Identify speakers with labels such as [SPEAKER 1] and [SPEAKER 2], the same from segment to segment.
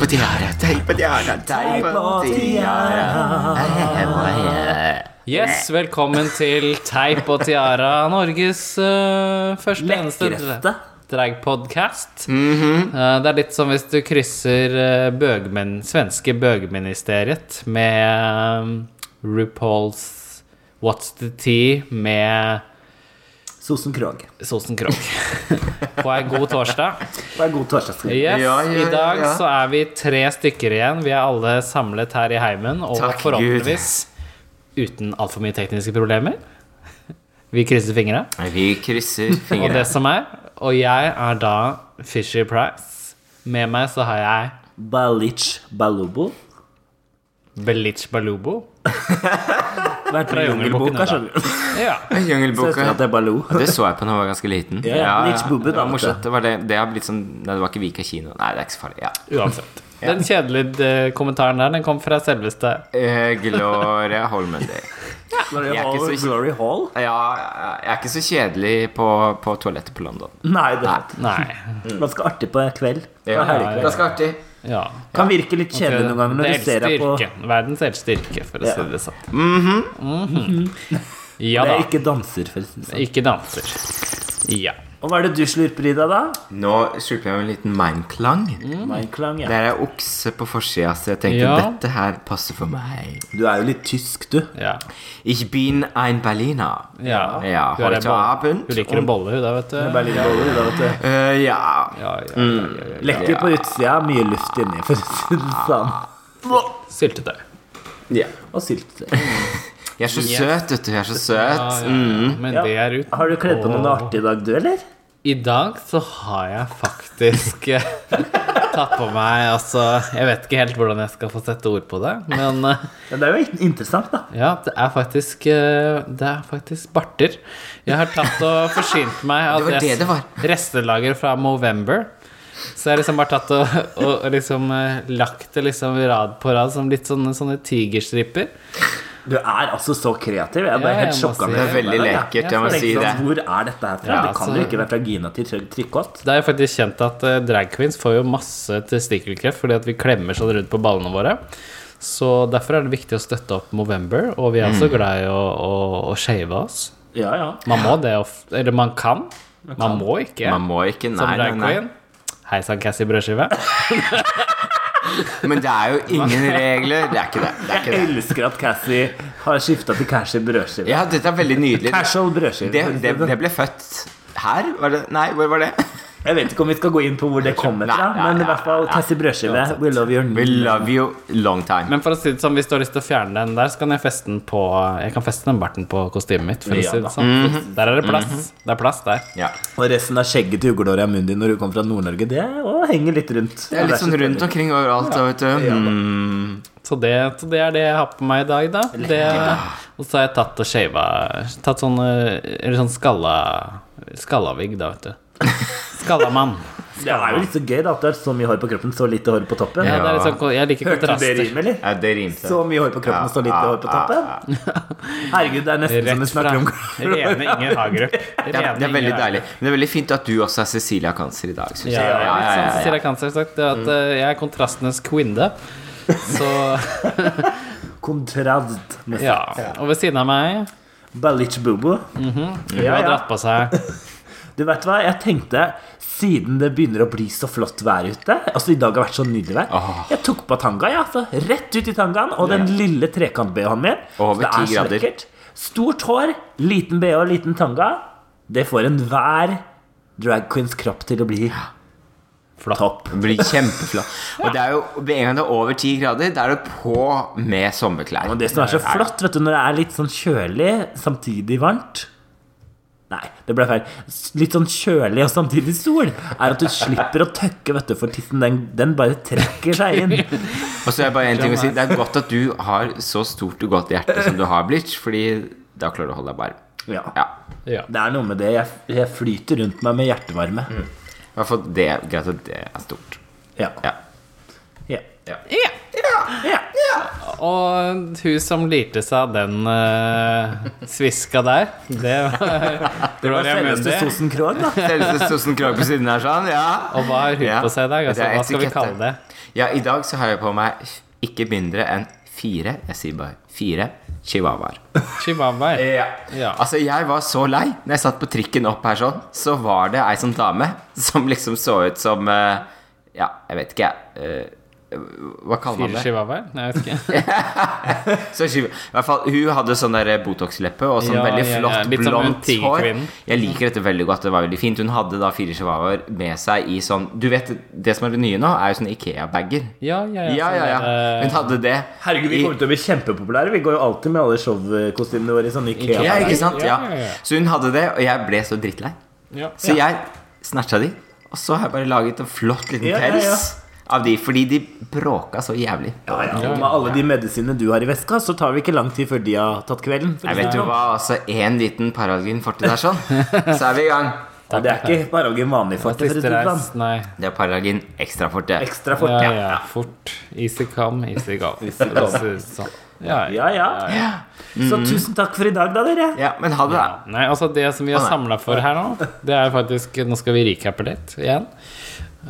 [SPEAKER 1] på tiara, teip på tiara, teip på tiara.
[SPEAKER 2] Yes, velkommen til Teip og Tiara, Norges eh, første eneste
[SPEAKER 3] Lekreste.
[SPEAKER 2] dragpodcast. Eh, det er litt som hvis du krysser eh, bøgmen, svenske bøgministeriet med um, RuPaul's What's the Tea med
[SPEAKER 3] Sosen Krog.
[SPEAKER 2] Sosen Krog. På en god torsdag.
[SPEAKER 3] Det er god torsdagskveld.
[SPEAKER 2] Yes,
[SPEAKER 1] Ja, ja,
[SPEAKER 2] I dag
[SPEAKER 1] ja, ja.
[SPEAKER 2] så er vi tre stykker igjen. Vi er alle samlet her i heimen, og
[SPEAKER 1] Takk,
[SPEAKER 2] forhåpentligvis uten altfor mye tekniske problemer. Vi krysser fingra,
[SPEAKER 1] Vi krysser
[SPEAKER 2] og det
[SPEAKER 1] fingrene.
[SPEAKER 2] som er. Og jeg er da Fisher Price. Med meg så har jeg
[SPEAKER 3] Balic Balubo.
[SPEAKER 2] Belic Balubo.
[SPEAKER 3] Vært med
[SPEAKER 2] Fra
[SPEAKER 3] i Jungelboka,
[SPEAKER 2] Jungelboken, da.
[SPEAKER 3] skjønner du.
[SPEAKER 2] Ja.
[SPEAKER 3] Søstera
[SPEAKER 1] Jungelboka.
[SPEAKER 3] til Baloo.
[SPEAKER 1] Det så jeg på da jeg var ganske liten.
[SPEAKER 3] Ja, Litch Bubbe,
[SPEAKER 1] det
[SPEAKER 3] da,
[SPEAKER 1] var
[SPEAKER 3] vet
[SPEAKER 1] morsomt.
[SPEAKER 3] du.
[SPEAKER 1] Det, var det, det, har blitt sånn, nei, det var ikke Vika kino. Nei, det er ikke så farlig. Ja.
[SPEAKER 2] Uansett. Den kjedelige eh, kommentaren der, den kom fra selveste
[SPEAKER 1] Eh, Gloria Holmenday.
[SPEAKER 3] Glory
[SPEAKER 1] Jeg er
[SPEAKER 3] Hall.
[SPEAKER 1] ikke så-
[SPEAKER 3] Glory Hall?
[SPEAKER 1] Ja, jeg er ikke så kjedelig på, på toalettet på London.
[SPEAKER 3] Nei, det er
[SPEAKER 2] Nei.
[SPEAKER 3] ganske artig på kveld. På
[SPEAKER 1] Ja,
[SPEAKER 3] helgekveld.
[SPEAKER 1] ganske artig.
[SPEAKER 2] Ja.
[SPEAKER 3] Kan virke litt kjedelig noen ganger
[SPEAKER 2] Det
[SPEAKER 3] når du ser
[SPEAKER 2] eldste
[SPEAKER 3] deg på
[SPEAKER 2] yrket. Verdens eldste yrke, for å
[SPEAKER 3] Ja.
[SPEAKER 2] si det sånn. Mhm. Ja
[SPEAKER 3] Det
[SPEAKER 2] da.
[SPEAKER 3] er ikke danser, for å si det sånn.
[SPEAKER 2] Ikke danser. Ja.
[SPEAKER 3] Og hva er det du slurper i deg, da?
[SPEAKER 1] Nå slurper jeg med en liten mindklang.
[SPEAKER 3] Mm. Mindklang, ja.
[SPEAKER 1] Der er okse på forsida, så jeg tenkte
[SPEAKER 2] Ja.
[SPEAKER 1] dette her passer for meg.
[SPEAKER 3] Du er jo litt tysk, du.
[SPEAKER 2] Ja.
[SPEAKER 1] Ich bin ein Berliner.
[SPEAKER 2] Ja.
[SPEAKER 1] Ja,
[SPEAKER 2] Du er
[SPEAKER 1] heute
[SPEAKER 2] en bolle.
[SPEAKER 1] Abend.
[SPEAKER 2] Du liker en bolle, hun da, vet du.
[SPEAKER 3] Berlinboller, da, vet du.
[SPEAKER 1] Eh, ja.
[SPEAKER 2] Ja, ja, ja, ja, ja.
[SPEAKER 3] Lekker på utsida, mye luft inni, for å si det sånn.
[SPEAKER 2] Syltetøy.
[SPEAKER 3] Og syltetøy.
[SPEAKER 1] Jeg er så søt, vet du. Jeg er så søt.
[SPEAKER 2] Ja, ja, ja. Men det er ut.
[SPEAKER 3] Har du kledd på noe artig i dag, du, eller?
[SPEAKER 2] I dag så har jeg faktisk eh, tatt på meg Altså, jeg vet ikke helt hvordan jeg skal få sette ord på det, men eh,
[SPEAKER 3] Ja, det er jo in- interessant, da.
[SPEAKER 2] ja, det er faktisk eh, Det er faktisk barter. Jeg har tatt og forsynt meg av
[SPEAKER 1] Det var det det var.
[SPEAKER 2] rest- restelager fra Movember. Så jeg har liksom bare tatt og, og, og liksom eh, lagt det liksom rad på rad som litt sånne, sånne tigerstriper.
[SPEAKER 3] Du er altså så kreativ. Jeg er bare
[SPEAKER 2] Ja,
[SPEAKER 3] helt
[SPEAKER 2] jeg må
[SPEAKER 3] sjokka. når
[SPEAKER 2] si
[SPEAKER 1] Det
[SPEAKER 3] jeg
[SPEAKER 1] er veldig
[SPEAKER 3] hører deg,
[SPEAKER 2] ja.
[SPEAKER 1] lekkert, jeg må
[SPEAKER 3] Jeg
[SPEAKER 1] si
[SPEAKER 3] tenker
[SPEAKER 1] det.
[SPEAKER 3] sånn, Hvor er dette her fra?
[SPEAKER 2] Ja,
[SPEAKER 3] det kan
[SPEAKER 2] altså-
[SPEAKER 3] jo ikke være fra Gina til Trygg Trykkott.
[SPEAKER 2] Det er jo faktisk kjent at eh, drag queens får jo masse testikkelkreft fordi at vi klemmer sånn rundt på ballene våre. Så derfor er det viktig å støtte opp Movember, og vi er
[SPEAKER 1] Mm.
[SPEAKER 2] også glad i å, å, å shave oss.
[SPEAKER 3] Ja, ja.
[SPEAKER 2] Man må det, of- eller man kan. Man må ikke.
[SPEAKER 1] Man må ikke,
[SPEAKER 2] Som
[SPEAKER 1] nei, nei,
[SPEAKER 2] drag
[SPEAKER 1] nei.
[SPEAKER 2] queen. Hei sann, Cassie Brødskive.
[SPEAKER 1] Men det er jo ingen regler. Det er ikke det. det, er ikke
[SPEAKER 3] Jeg
[SPEAKER 1] det.
[SPEAKER 3] elsker at Cassie har skifta til Cashy brødskive.
[SPEAKER 1] Ja, dette er veldig nydelig.
[SPEAKER 3] Casual brødskive.
[SPEAKER 1] Det, det, det ble født her? Var det? Nei, hvor var det?
[SPEAKER 3] sånn. Jeg vet ikke om vi skal gå inn på hvor det kommer fra,
[SPEAKER 1] Nei, nei,
[SPEAKER 3] men
[SPEAKER 1] nei,
[SPEAKER 3] i hvert fall
[SPEAKER 1] nei,
[SPEAKER 3] Cassie brødskive. We love your
[SPEAKER 1] We
[SPEAKER 3] name.
[SPEAKER 1] love you long time.
[SPEAKER 2] Men for å si det sånn, hvis du har lyst til å fjerne den der, så kan jeg feste den på Jeg kan feste den barten på kostymet mitt. For å
[SPEAKER 3] Ja
[SPEAKER 2] si
[SPEAKER 3] da.
[SPEAKER 2] det sånn. Der er det plass. Det er plass der.
[SPEAKER 1] Ja.
[SPEAKER 3] Og resten av skjegget til uglehåra i munnen din når du kommer fra Nord-Norge, det også henger litt rundt.
[SPEAKER 1] Det er litt sånn rundt omkring overalt, da, vet du. Mm.
[SPEAKER 2] Så det, så det er det jeg har på meg i dag, da. Det, og så har jeg tatt og shava Tatt sånn eh, Eller sånn skalla Skallavigg, da, vet du. Skallamann.
[SPEAKER 3] Det er jo litt så gøy da, at du har så mye hår på kroppen, så lite hår på toppen.
[SPEAKER 2] Ja, det er litt sånn, ko- jeg liker
[SPEAKER 3] Hørte du det
[SPEAKER 2] kontraster.
[SPEAKER 3] rimet, eller?
[SPEAKER 1] Ja, det rimte.
[SPEAKER 3] Så mye hår på kroppen, så lite hår på toppen. Herregud, det er nesten som vi
[SPEAKER 2] Rett fra
[SPEAKER 3] snakker om
[SPEAKER 2] rene Inger Hagerup.
[SPEAKER 1] Det er, det er
[SPEAKER 2] Rene
[SPEAKER 1] veldig
[SPEAKER 2] Inger Hagerup.
[SPEAKER 1] deilig. Men det er veldig fint at du også er Cecilia Cancer i dag, synes
[SPEAKER 2] Ja,
[SPEAKER 1] jeg.
[SPEAKER 2] ja, ja,
[SPEAKER 1] ja, ja.
[SPEAKER 2] Cecilia Kanser har sagt det at eh, jeg er kontrastenes kvinne. Så
[SPEAKER 3] kontrast. med
[SPEAKER 2] ja. Og ved siden av meg
[SPEAKER 3] Balich Bubu.
[SPEAKER 2] Hun
[SPEAKER 3] ja,
[SPEAKER 2] har
[SPEAKER 3] ja.
[SPEAKER 2] dratt på seg
[SPEAKER 3] Du vet hva, jeg tenkte siden det begynner å bli så flott vær ute Altså, i dag har vært så nydelig vær.
[SPEAKER 1] Åh.
[SPEAKER 3] Jeg tok på tanga, jeg, altså. Rett ut i tangaen. Og den lille trekant-BH-en min.
[SPEAKER 1] Over
[SPEAKER 3] Så det
[SPEAKER 1] 10
[SPEAKER 3] er så
[SPEAKER 1] grader.
[SPEAKER 3] lekkert. Stort hår, liten BH, liten tanga. Det får enhver drag queens kropp til å bli
[SPEAKER 2] flott.
[SPEAKER 3] topp.
[SPEAKER 1] Det blir kjempeflott. Og det er jo, med en gang det er over 10 grader, da er det på med sommerklær.
[SPEAKER 3] Og det som er så flott, vet du, når det er litt sånn kjølig, samtidig varmt Nei, det ble feil. S- Litt sånn kjølig og samtidig sol, er at du slipper å tøkke, vet du, for tissen den, den bare trekker seg inn.
[SPEAKER 1] Og så er det bare en ting å si. Det er godt at du har så stort og godt hjerte som du har, Blitz, fordi da klarer du å holde deg varm.
[SPEAKER 3] Ja.
[SPEAKER 1] Ja.
[SPEAKER 2] Ja.
[SPEAKER 3] Det er noe med det. Jeg, jeg flyter rundt meg med hjertevarme.
[SPEAKER 1] I hvert fall det er greit at det er stort.
[SPEAKER 3] Ja.
[SPEAKER 1] Ja.
[SPEAKER 3] ja.
[SPEAKER 1] Ja.
[SPEAKER 2] Ja.
[SPEAKER 3] ja.
[SPEAKER 2] Og hun som lirte seg av den eh, sviska der, det var Gloria
[SPEAKER 3] Selveste
[SPEAKER 2] Mundi.
[SPEAKER 3] Sosen Krog, da.
[SPEAKER 1] Selveste Sosen Krog på siden her, sånn. Ja.
[SPEAKER 2] Og hva har hun
[SPEAKER 1] Ja,
[SPEAKER 2] på seg i dag?
[SPEAKER 1] det
[SPEAKER 2] Altså,
[SPEAKER 1] er
[SPEAKER 2] hva skal vi
[SPEAKER 1] etikette.
[SPEAKER 2] kalle det?
[SPEAKER 1] ja, i dag så har jeg på meg ikke mindre enn fire, jeg sier bare fire, chihuahuaer.
[SPEAKER 2] Chihuahuaer.
[SPEAKER 1] Ja.
[SPEAKER 2] Ja.
[SPEAKER 1] Altså, jeg var så lei Når jeg satt på trikken opp her sånn, så var det ei sånn dame som liksom så ut som eh, Ja, jeg vet ikke, jeg. eh, hva kaller man
[SPEAKER 2] Fire
[SPEAKER 1] det?
[SPEAKER 2] chihuahuaer? Nei, Jeg vet ikke.
[SPEAKER 1] Så skiv- I hvert fall, Hun hadde sånn der Botox-leppe og sånn
[SPEAKER 2] Ja,
[SPEAKER 1] veldig
[SPEAKER 2] ja, ja.
[SPEAKER 1] flott,
[SPEAKER 2] Litt som en
[SPEAKER 1] blondt hår.
[SPEAKER 2] tigerkvinne.
[SPEAKER 1] Jeg liker dette veldig godt. Det var veldig fint Hun hadde da fire chihuahuaer med seg i sånn Du vet, Det som er det nye nå, er jo sånne Ikea-bager.
[SPEAKER 2] Ja, ja, ja.
[SPEAKER 1] Ja, ja, ja.
[SPEAKER 2] sånn, eh,
[SPEAKER 1] Hun hadde det.
[SPEAKER 3] Herregud, vi
[SPEAKER 1] i-
[SPEAKER 3] kommer til å bli kjempepopulære. Vi går jo alltid med alle showkostymene våre i sånne Ikea.
[SPEAKER 1] ja, ikke sant? Ja.
[SPEAKER 2] Ja, ja, ja.
[SPEAKER 1] Så hun hadde det, og jeg ble så drittlei.
[SPEAKER 2] ja.
[SPEAKER 1] Så jeg snatcha de, og så har jeg bare laget en flott liten
[SPEAKER 3] Ja, ja, ja.
[SPEAKER 1] pels av de, fordi de bråka så jævlig.
[SPEAKER 3] Ja, ja. Og med alle de medisinene du har i veska, så tar vi ikke lang tid før de har tatt kvelden. for å
[SPEAKER 1] Jeg
[SPEAKER 3] si
[SPEAKER 1] vet
[SPEAKER 3] det
[SPEAKER 1] jo
[SPEAKER 3] sånn.
[SPEAKER 1] hva, altså én liten paralgin forti der sånn, så er vi i gang.
[SPEAKER 3] Ja, det er ikke bare Algen vanlig for
[SPEAKER 2] Siste reis. Nei.
[SPEAKER 1] Det er paralgin ekstra forte.
[SPEAKER 3] sånn. Ekstra fort.
[SPEAKER 2] Ja,
[SPEAKER 3] Ja,
[SPEAKER 2] ja. Fort. Easy come, easy go.
[SPEAKER 3] Easy go.
[SPEAKER 2] Sånn. Ja, ja.
[SPEAKER 3] ja. Så tusen takk for i dag, da, dere.
[SPEAKER 1] Ja, men ha det, da.
[SPEAKER 2] Nei, altså det som vi har
[SPEAKER 1] Å, nei.
[SPEAKER 2] samla for her nå, det er faktisk Nå skal vi recappe litt igjen.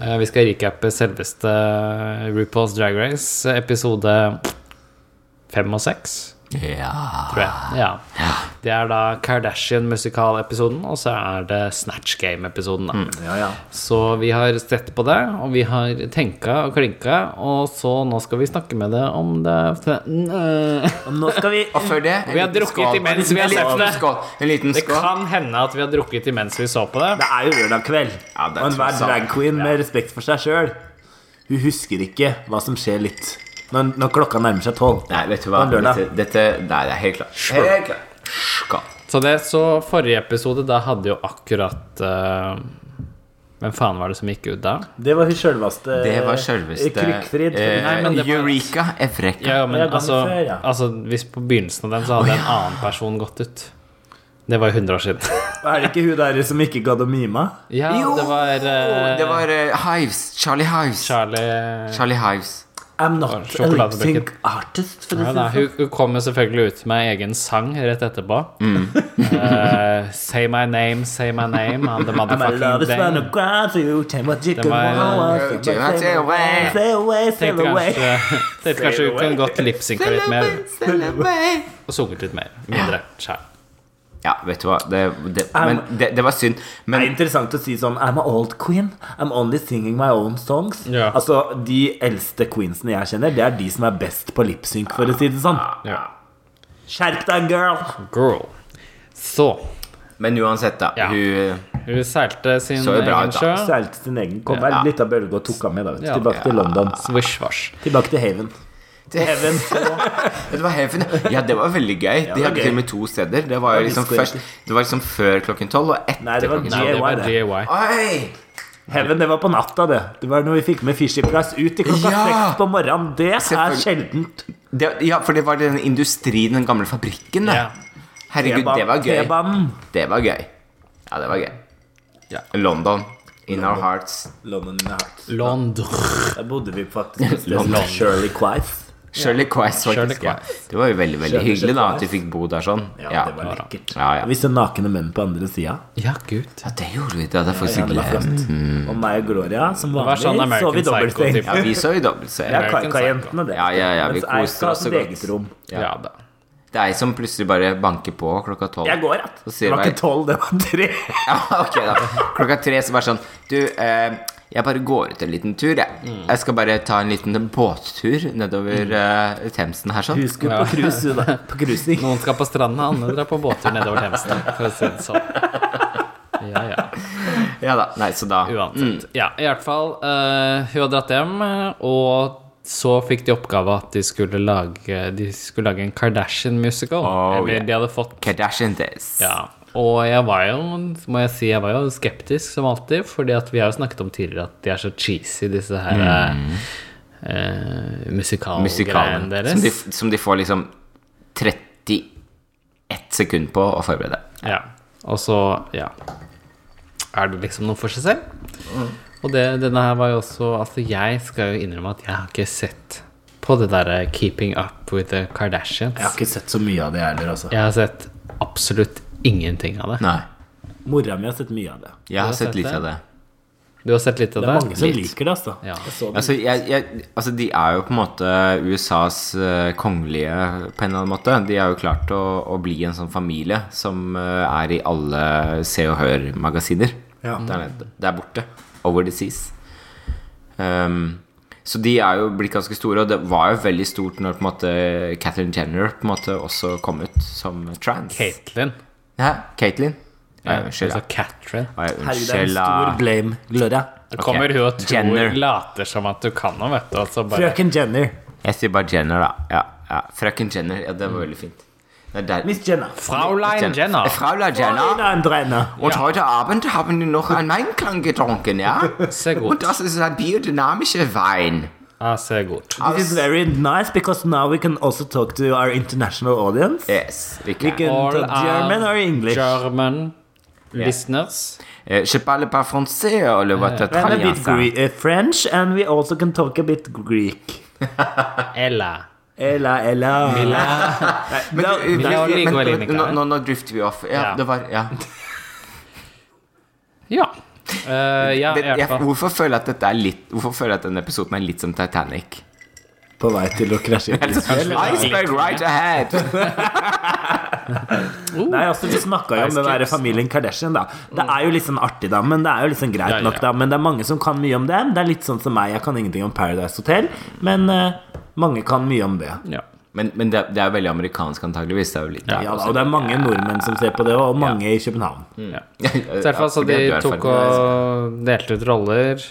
[SPEAKER 2] Eh, Vi skal recappe selveste eh, RuPaul's Drag Race, episode fem og seks,
[SPEAKER 1] Ja.
[SPEAKER 2] tror jeg. Ah. Ja. Det er da Kardashian-musikalepisoden, og så er det Snatch Game-episoden, da.
[SPEAKER 3] Ja, ja.
[SPEAKER 2] Så vi har sett på det, og vi har tenka og klinka, og så nå skal vi snakke med det om det
[SPEAKER 3] Og nå skal vi
[SPEAKER 1] Og før det en
[SPEAKER 2] Vi har
[SPEAKER 1] liten
[SPEAKER 2] drukket
[SPEAKER 1] skål.
[SPEAKER 2] imens vi
[SPEAKER 1] En
[SPEAKER 2] har
[SPEAKER 1] liten
[SPEAKER 2] sett det.
[SPEAKER 1] Skål. En liten
[SPEAKER 2] Det
[SPEAKER 1] skål.
[SPEAKER 2] kan hende at vi har drukket imens vi så på det.
[SPEAKER 3] Det er jo lørdag kveld,
[SPEAKER 1] Ja, det er
[SPEAKER 3] og enhver
[SPEAKER 1] tross alt.
[SPEAKER 3] drag queen med respekt for seg sjøl Hun husker ikke hva som skjer litt når, når klokka nærmer seg tolv.
[SPEAKER 1] Nei, vet du hva.
[SPEAKER 3] På lørdag.
[SPEAKER 1] Dette, dette Nei, det er helt klart. Helt klart. Skål.
[SPEAKER 2] Så det så forrige episode, da hadde jo akkurat eh, Hvem faen var det som gikk ut da?
[SPEAKER 3] Det var hun sjølveste
[SPEAKER 1] Det var sjølveste
[SPEAKER 3] Eh, Krykkfrid.
[SPEAKER 1] eh,
[SPEAKER 2] Nei, men det var-
[SPEAKER 1] Eureka Evreka.
[SPEAKER 2] Ja, men
[SPEAKER 3] Ja, gangen
[SPEAKER 2] altså,
[SPEAKER 3] før, ja.
[SPEAKER 2] altså Hvis på begynnelsen av den så hadde en annen person gått ut. Det var jo 100 år siden.
[SPEAKER 3] Er det ikke hun der som ikke gadd å mime?
[SPEAKER 2] Ja,
[SPEAKER 1] Jo!
[SPEAKER 2] det var, eh,
[SPEAKER 1] Det var eh, Hives. Charlie Hives.
[SPEAKER 2] Charlie
[SPEAKER 1] Charlie Hives.
[SPEAKER 3] I'm not a lip
[SPEAKER 2] Sjokoladebrikken.
[SPEAKER 3] sync artist, for å
[SPEAKER 2] Ja,
[SPEAKER 3] si det
[SPEAKER 2] da,
[SPEAKER 3] sånn.
[SPEAKER 2] hun, hun kom jo selvfølgelig ut med egen sang rett etterpå. Eh, say my name, say my name, and the
[SPEAKER 3] And my love
[SPEAKER 2] motherfucking
[SPEAKER 3] is gonna
[SPEAKER 2] day.
[SPEAKER 3] grab you, take what you
[SPEAKER 2] Den
[SPEAKER 3] can
[SPEAKER 2] var-
[SPEAKER 3] want,
[SPEAKER 1] Do not
[SPEAKER 3] sail
[SPEAKER 1] sail away.
[SPEAKER 3] Sail away, sail
[SPEAKER 2] Tenkte
[SPEAKER 3] away.
[SPEAKER 2] kanskje, tenkte kanskje hun kunne gått lipsynka litt mer og sunget litt mer. Mindre sjæl.
[SPEAKER 1] Ja, vet du hva. Det, det, men, det, det var synd.
[SPEAKER 3] Det er
[SPEAKER 1] Men
[SPEAKER 3] interessant å si sånn I'm a old queen. I'm only singing my own songs.
[SPEAKER 2] Ja.
[SPEAKER 3] Altså, De eldste queensene jeg kjenner, det er de som er best på lipsynk, for å si det sånn.
[SPEAKER 2] Ja.
[SPEAKER 3] Skjerp deg, girl!
[SPEAKER 2] Girl. Så
[SPEAKER 1] Men uansett, da.
[SPEAKER 2] Ja.
[SPEAKER 1] Hun
[SPEAKER 2] hun seilte sin
[SPEAKER 1] Så jo bra
[SPEAKER 2] egen
[SPEAKER 1] ut, da.
[SPEAKER 2] sjø.
[SPEAKER 3] Seilte sin egen. Kom her,
[SPEAKER 1] Ja.
[SPEAKER 3] litt av bølge og tok av med. da vet du.
[SPEAKER 2] Ja.
[SPEAKER 3] Tilbake til London.
[SPEAKER 2] Swish-wash.
[SPEAKER 3] Tilbake til Haven.
[SPEAKER 1] det,
[SPEAKER 3] Haven så-
[SPEAKER 1] Det var helt fin- Ja, det var veldig gøy. De
[SPEAKER 3] det var
[SPEAKER 1] hadde
[SPEAKER 3] gøy.
[SPEAKER 1] til og med to steder. Det var jo liksom
[SPEAKER 3] disco,
[SPEAKER 1] først Det var liksom før klokken tolv og etter
[SPEAKER 3] Nei, det var
[SPEAKER 1] klokken
[SPEAKER 2] Nei, det var
[SPEAKER 3] DIY, det.
[SPEAKER 2] DIY.
[SPEAKER 1] Oi!
[SPEAKER 3] Heaven, det var på natta, det. Det var når vi fikk med Fishy Price ut i klokka
[SPEAKER 1] Ja!
[SPEAKER 3] seks på morgenen. Det er
[SPEAKER 1] Selvfølgelig.
[SPEAKER 3] sjeldent.
[SPEAKER 1] Det, ja, for det var den industrien, den gamle fabrikken. Da.
[SPEAKER 2] Ja.
[SPEAKER 1] Herregud, det var gøy.
[SPEAKER 3] T-banen.
[SPEAKER 1] Det var gøy. Ja, det var gøy.
[SPEAKER 2] Ja.
[SPEAKER 1] London. In our hearts.
[SPEAKER 3] London in the heart.
[SPEAKER 2] London.
[SPEAKER 3] Der bodde vi faktisk et sted som
[SPEAKER 1] London.
[SPEAKER 3] Shirley Quife.
[SPEAKER 1] Shirley Quiz,
[SPEAKER 2] Shirley
[SPEAKER 1] faktisk. Ja. Det var jo veldig veldig
[SPEAKER 3] Shirley
[SPEAKER 1] hyggelig da at
[SPEAKER 3] Quiz.
[SPEAKER 1] vi fikk bo der sånn.
[SPEAKER 3] Ja, det var lekkert.
[SPEAKER 1] Ja, ja.
[SPEAKER 3] Vi så nakne menn på andre sida.
[SPEAKER 2] Ja, gud.
[SPEAKER 1] Ja, det gjorde vi. Det hadde jeg
[SPEAKER 3] Ja,
[SPEAKER 1] faktisk
[SPEAKER 3] det var
[SPEAKER 1] glemt.
[SPEAKER 3] flott. Og meg og Gloria, som
[SPEAKER 2] var
[SPEAKER 3] vanlig, så
[SPEAKER 2] sånn
[SPEAKER 3] vi
[SPEAKER 2] American
[SPEAKER 3] dobbeltseng.
[SPEAKER 2] Psycho-type.
[SPEAKER 1] Ja, vi så jo dobbeltserie.
[SPEAKER 3] Det er
[SPEAKER 2] American
[SPEAKER 3] Kaika-jentene, det.
[SPEAKER 1] Ja, ja, ja, vi
[SPEAKER 3] Mens jeg
[SPEAKER 1] koser
[SPEAKER 3] skal ha
[SPEAKER 1] oss så
[SPEAKER 3] sitt
[SPEAKER 1] godt.
[SPEAKER 3] eget rom.
[SPEAKER 1] Ja.
[SPEAKER 2] Ja da.
[SPEAKER 1] Det er jeg som plutselig bare banker på klokka tolv.
[SPEAKER 3] Jeg går att.
[SPEAKER 1] Så
[SPEAKER 3] Det
[SPEAKER 1] sier
[SPEAKER 3] var
[SPEAKER 1] jeg-
[SPEAKER 3] ikke tolv, det var tre.
[SPEAKER 1] Ja, ok da Klokka tre så bare sånn Du, eh, jeg bare går ut en liten tur jeg.
[SPEAKER 2] Mm.
[SPEAKER 1] jeg skal bare ta en liten båttur Nedover eh, Themsen her sånn
[SPEAKER 3] Hun skulle på cruise, hun da. På cruising.
[SPEAKER 2] Noen skal på stranda, andre drar på båttur nedover Themsen, for å si det sånn. Ja, ja.
[SPEAKER 1] Ja da, nei, så da
[SPEAKER 2] Uansett.
[SPEAKER 1] Mm.
[SPEAKER 2] Ja, i hvert fall. eh, hun har dratt hjem, og så fikk de oppgave at de skulle lage, de skulle lage en Kardashian-musical.
[SPEAKER 1] Oh,
[SPEAKER 2] eller
[SPEAKER 1] yeah.
[SPEAKER 2] de hadde fått
[SPEAKER 1] Kardashian days
[SPEAKER 2] Ja. Og jeg var jo, må jeg si, jeg var jo skeptisk som alltid, fordi at vi har jo snakket om tidligere at de er så cheesy, disse her eh, musikalgreiene
[SPEAKER 1] Musikalen
[SPEAKER 2] deres.
[SPEAKER 1] Mm. som de, som de får liksom 31 sekund på å forberede
[SPEAKER 2] Ja. Og så, ja Er det liksom noe for seg selv?
[SPEAKER 3] Mm.
[SPEAKER 2] Og det, denne her var jo også Altså, jeg skal jo innrømme at jeg har ikke sett på det derre Keeping Up With The Kardashians.
[SPEAKER 3] Jeg har ikke sett så mye av det heller, altså.
[SPEAKER 2] Jeg har sett absolutt ingenting av det.
[SPEAKER 1] Nei.
[SPEAKER 3] Mora mi har sett mye av det.
[SPEAKER 1] Jeg har
[SPEAKER 2] har
[SPEAKER 1] sett
[SPEAKER 2] sett
[SPEAKER 1] litt
[SPEAKER 2] det?
[SPEAKER 1] av det.
[SPEAKER 2] Du har sett litt av
[SPEAKER 3] Det er mange som
[SPEAKER 1] Litt.
[SPEAKER 3] liker det, altså.
[SPEAKER 2] Ja.
[SPEAKER 3] Jeg så den.
[SPEAKER 1] Altså, jeg, jeg, altså, de er jo på en måte USAs eh, kongelige på en eller annen måte. De har jo klart å, å bli en sånn familie som eh, er i alle Se og Hør-magasiner
[SPEAKER 3] Ja.
[SPEAKER 1] der, nede- der borte. Over disease. Um, så de er jo blitt ganske store, og det var jo veldig stort når på en måte Catherine Jenner på en måte også kom ut som trans.
[SPEAKER 2] Caitlyn.
[SPEAKER 1] Hæ? Caitlyn? Ja,
[SPEAKER 2] Ja,
[SPEAKER 1] unnskyld.
[SPEAKER 2] altså
[SPEAKER 1] ja.
[SPEAKER 2] Catherine.
[SPEAKER 1] Ja, ja,
[SPEAKER 3] Herregud, det er en
[SPEAKER 1] Unnskyld.
[SPEAKER 3] stor
[SPEAKER 1] ja.
[SPEAKER 3] blame, Gloria.
[SPEAKER 2] Da kommer hun og tror,
[SPEAKER 1] Jenner.
[SPEAKER 2] later som at du kan noe, vet du. Og så bare
[SPEAKER 3] Frøken Jenner.
[SPEAKER 1] Jeg sier bare Jenner, da. Ja, ja. Frøken Jenner. Ja, det var veldig fint. Det er der.
[SPEAKER 3] Miss Jenner.
[SPEAKER 2] Fraulein Jenner.
[SPEAKER 1] Fraulein Jenner.
[SPEAKER 3] Frøken Jenner.
[SPEAKER 1] Und heute Abend haben wir noch einen Weinklang getrunken, ja?
[SPEAKER 2] Sehr gut.
[SPEAKER 1] Und das ist ein biodynamischer Wein.
[SPEAKER 2] Ja, ser godt.
[SPEAKER 3] This is very nice because now we can also talk to our international audience.
[SPEAKER 1] Yes, we
[SPEAKER 3] We
[SPEAKER 1] can.
[SPEAKER 3] can
[SPEAKER 2] All
[SPEAKER 3] talk German
[SPEAKER 2] our
[SPEAKER 3] or English.
[SPEAKER 2] German listeners.
[SPEAKER 1] Eh, Je parle pas français, eller hva
[SPEAKER 2] Äh,
[SPEAKER 1] det
[SPEAKER 3] And a
[SPEAKER 1] er.
[SPEAKER 3] bit Gre uh, French, and we also can talk a bit Greek.
[SPEAKER 2] Eller
[SPEAKER 3] Ella, Ella.
[SPEAKER 1] Men,
[SPEAKER 3] Da-
[SPEAKER 1] eh,
[SPEAKER 2] Mila og
[SPEAKER 1] men-
[SPEAKER 2] Ligo er
[SPEAKER 1] men-
[SPEAKER 2] like,
[SPEAKER 1] nå-
[SPEAKER 2] ja.
[SPEAKER 1] nå- Nå drifter vi off. Ja,
[SPEAKER 2] Ja.
[SPEAKER 1] det var Ja.
[SPEAKER 2] Ja. Eh, ja, i
[SPEAKER 1] Det,
[SPEAKER 2] hvert
[SPEAKER 1] jeg,
[SPEAKER 2] fall.
[SPEAKER 1] hvorfor føler jeg at dette er litt Hvorfor føler jeg at denne episoden er litt som Titanic?
[SPEAKER 3] På vei til å krasje inn.
[SPEAKER 1] Iceberg right ahead!
[SPEAKER 3] Nei, altså, vi snakka jo om
[SPEAKER 2] Ice
[SPEAKER 3] den der
[SPEAKER 2] cubes.
[SPEAKER 3] familien Kardashian, da. Det er jo litt sånn artig, da. Men det er jo litt sånn greit
[SPEAKER 2] Ja, ja,
[SPEAKER 3] nok,
[SPEAKER 2] ja.
[SPEAKER 3] da. Men det er mange som kan mye om dem. Det er litt sånn som meg. Jeg kan ingenting om Paradise Hotel, men eh, mange kan mye om det.
[SPEAKER 2] Ja.
[SPEAKER 1] Men, men det, det er jo veldig amerikansk, antageligvis. Det er jo litt
[SPEAKER 2] Ja.
[SPEAKER 3] Ja, da, og det er mange nordmenn som ser på det, og mange i København.
[SPEAKER 2] ja.
[SPEAKER 1] I
[SPEAKER 2] Mm. Så i hvert fall så de tok og delte ut roller.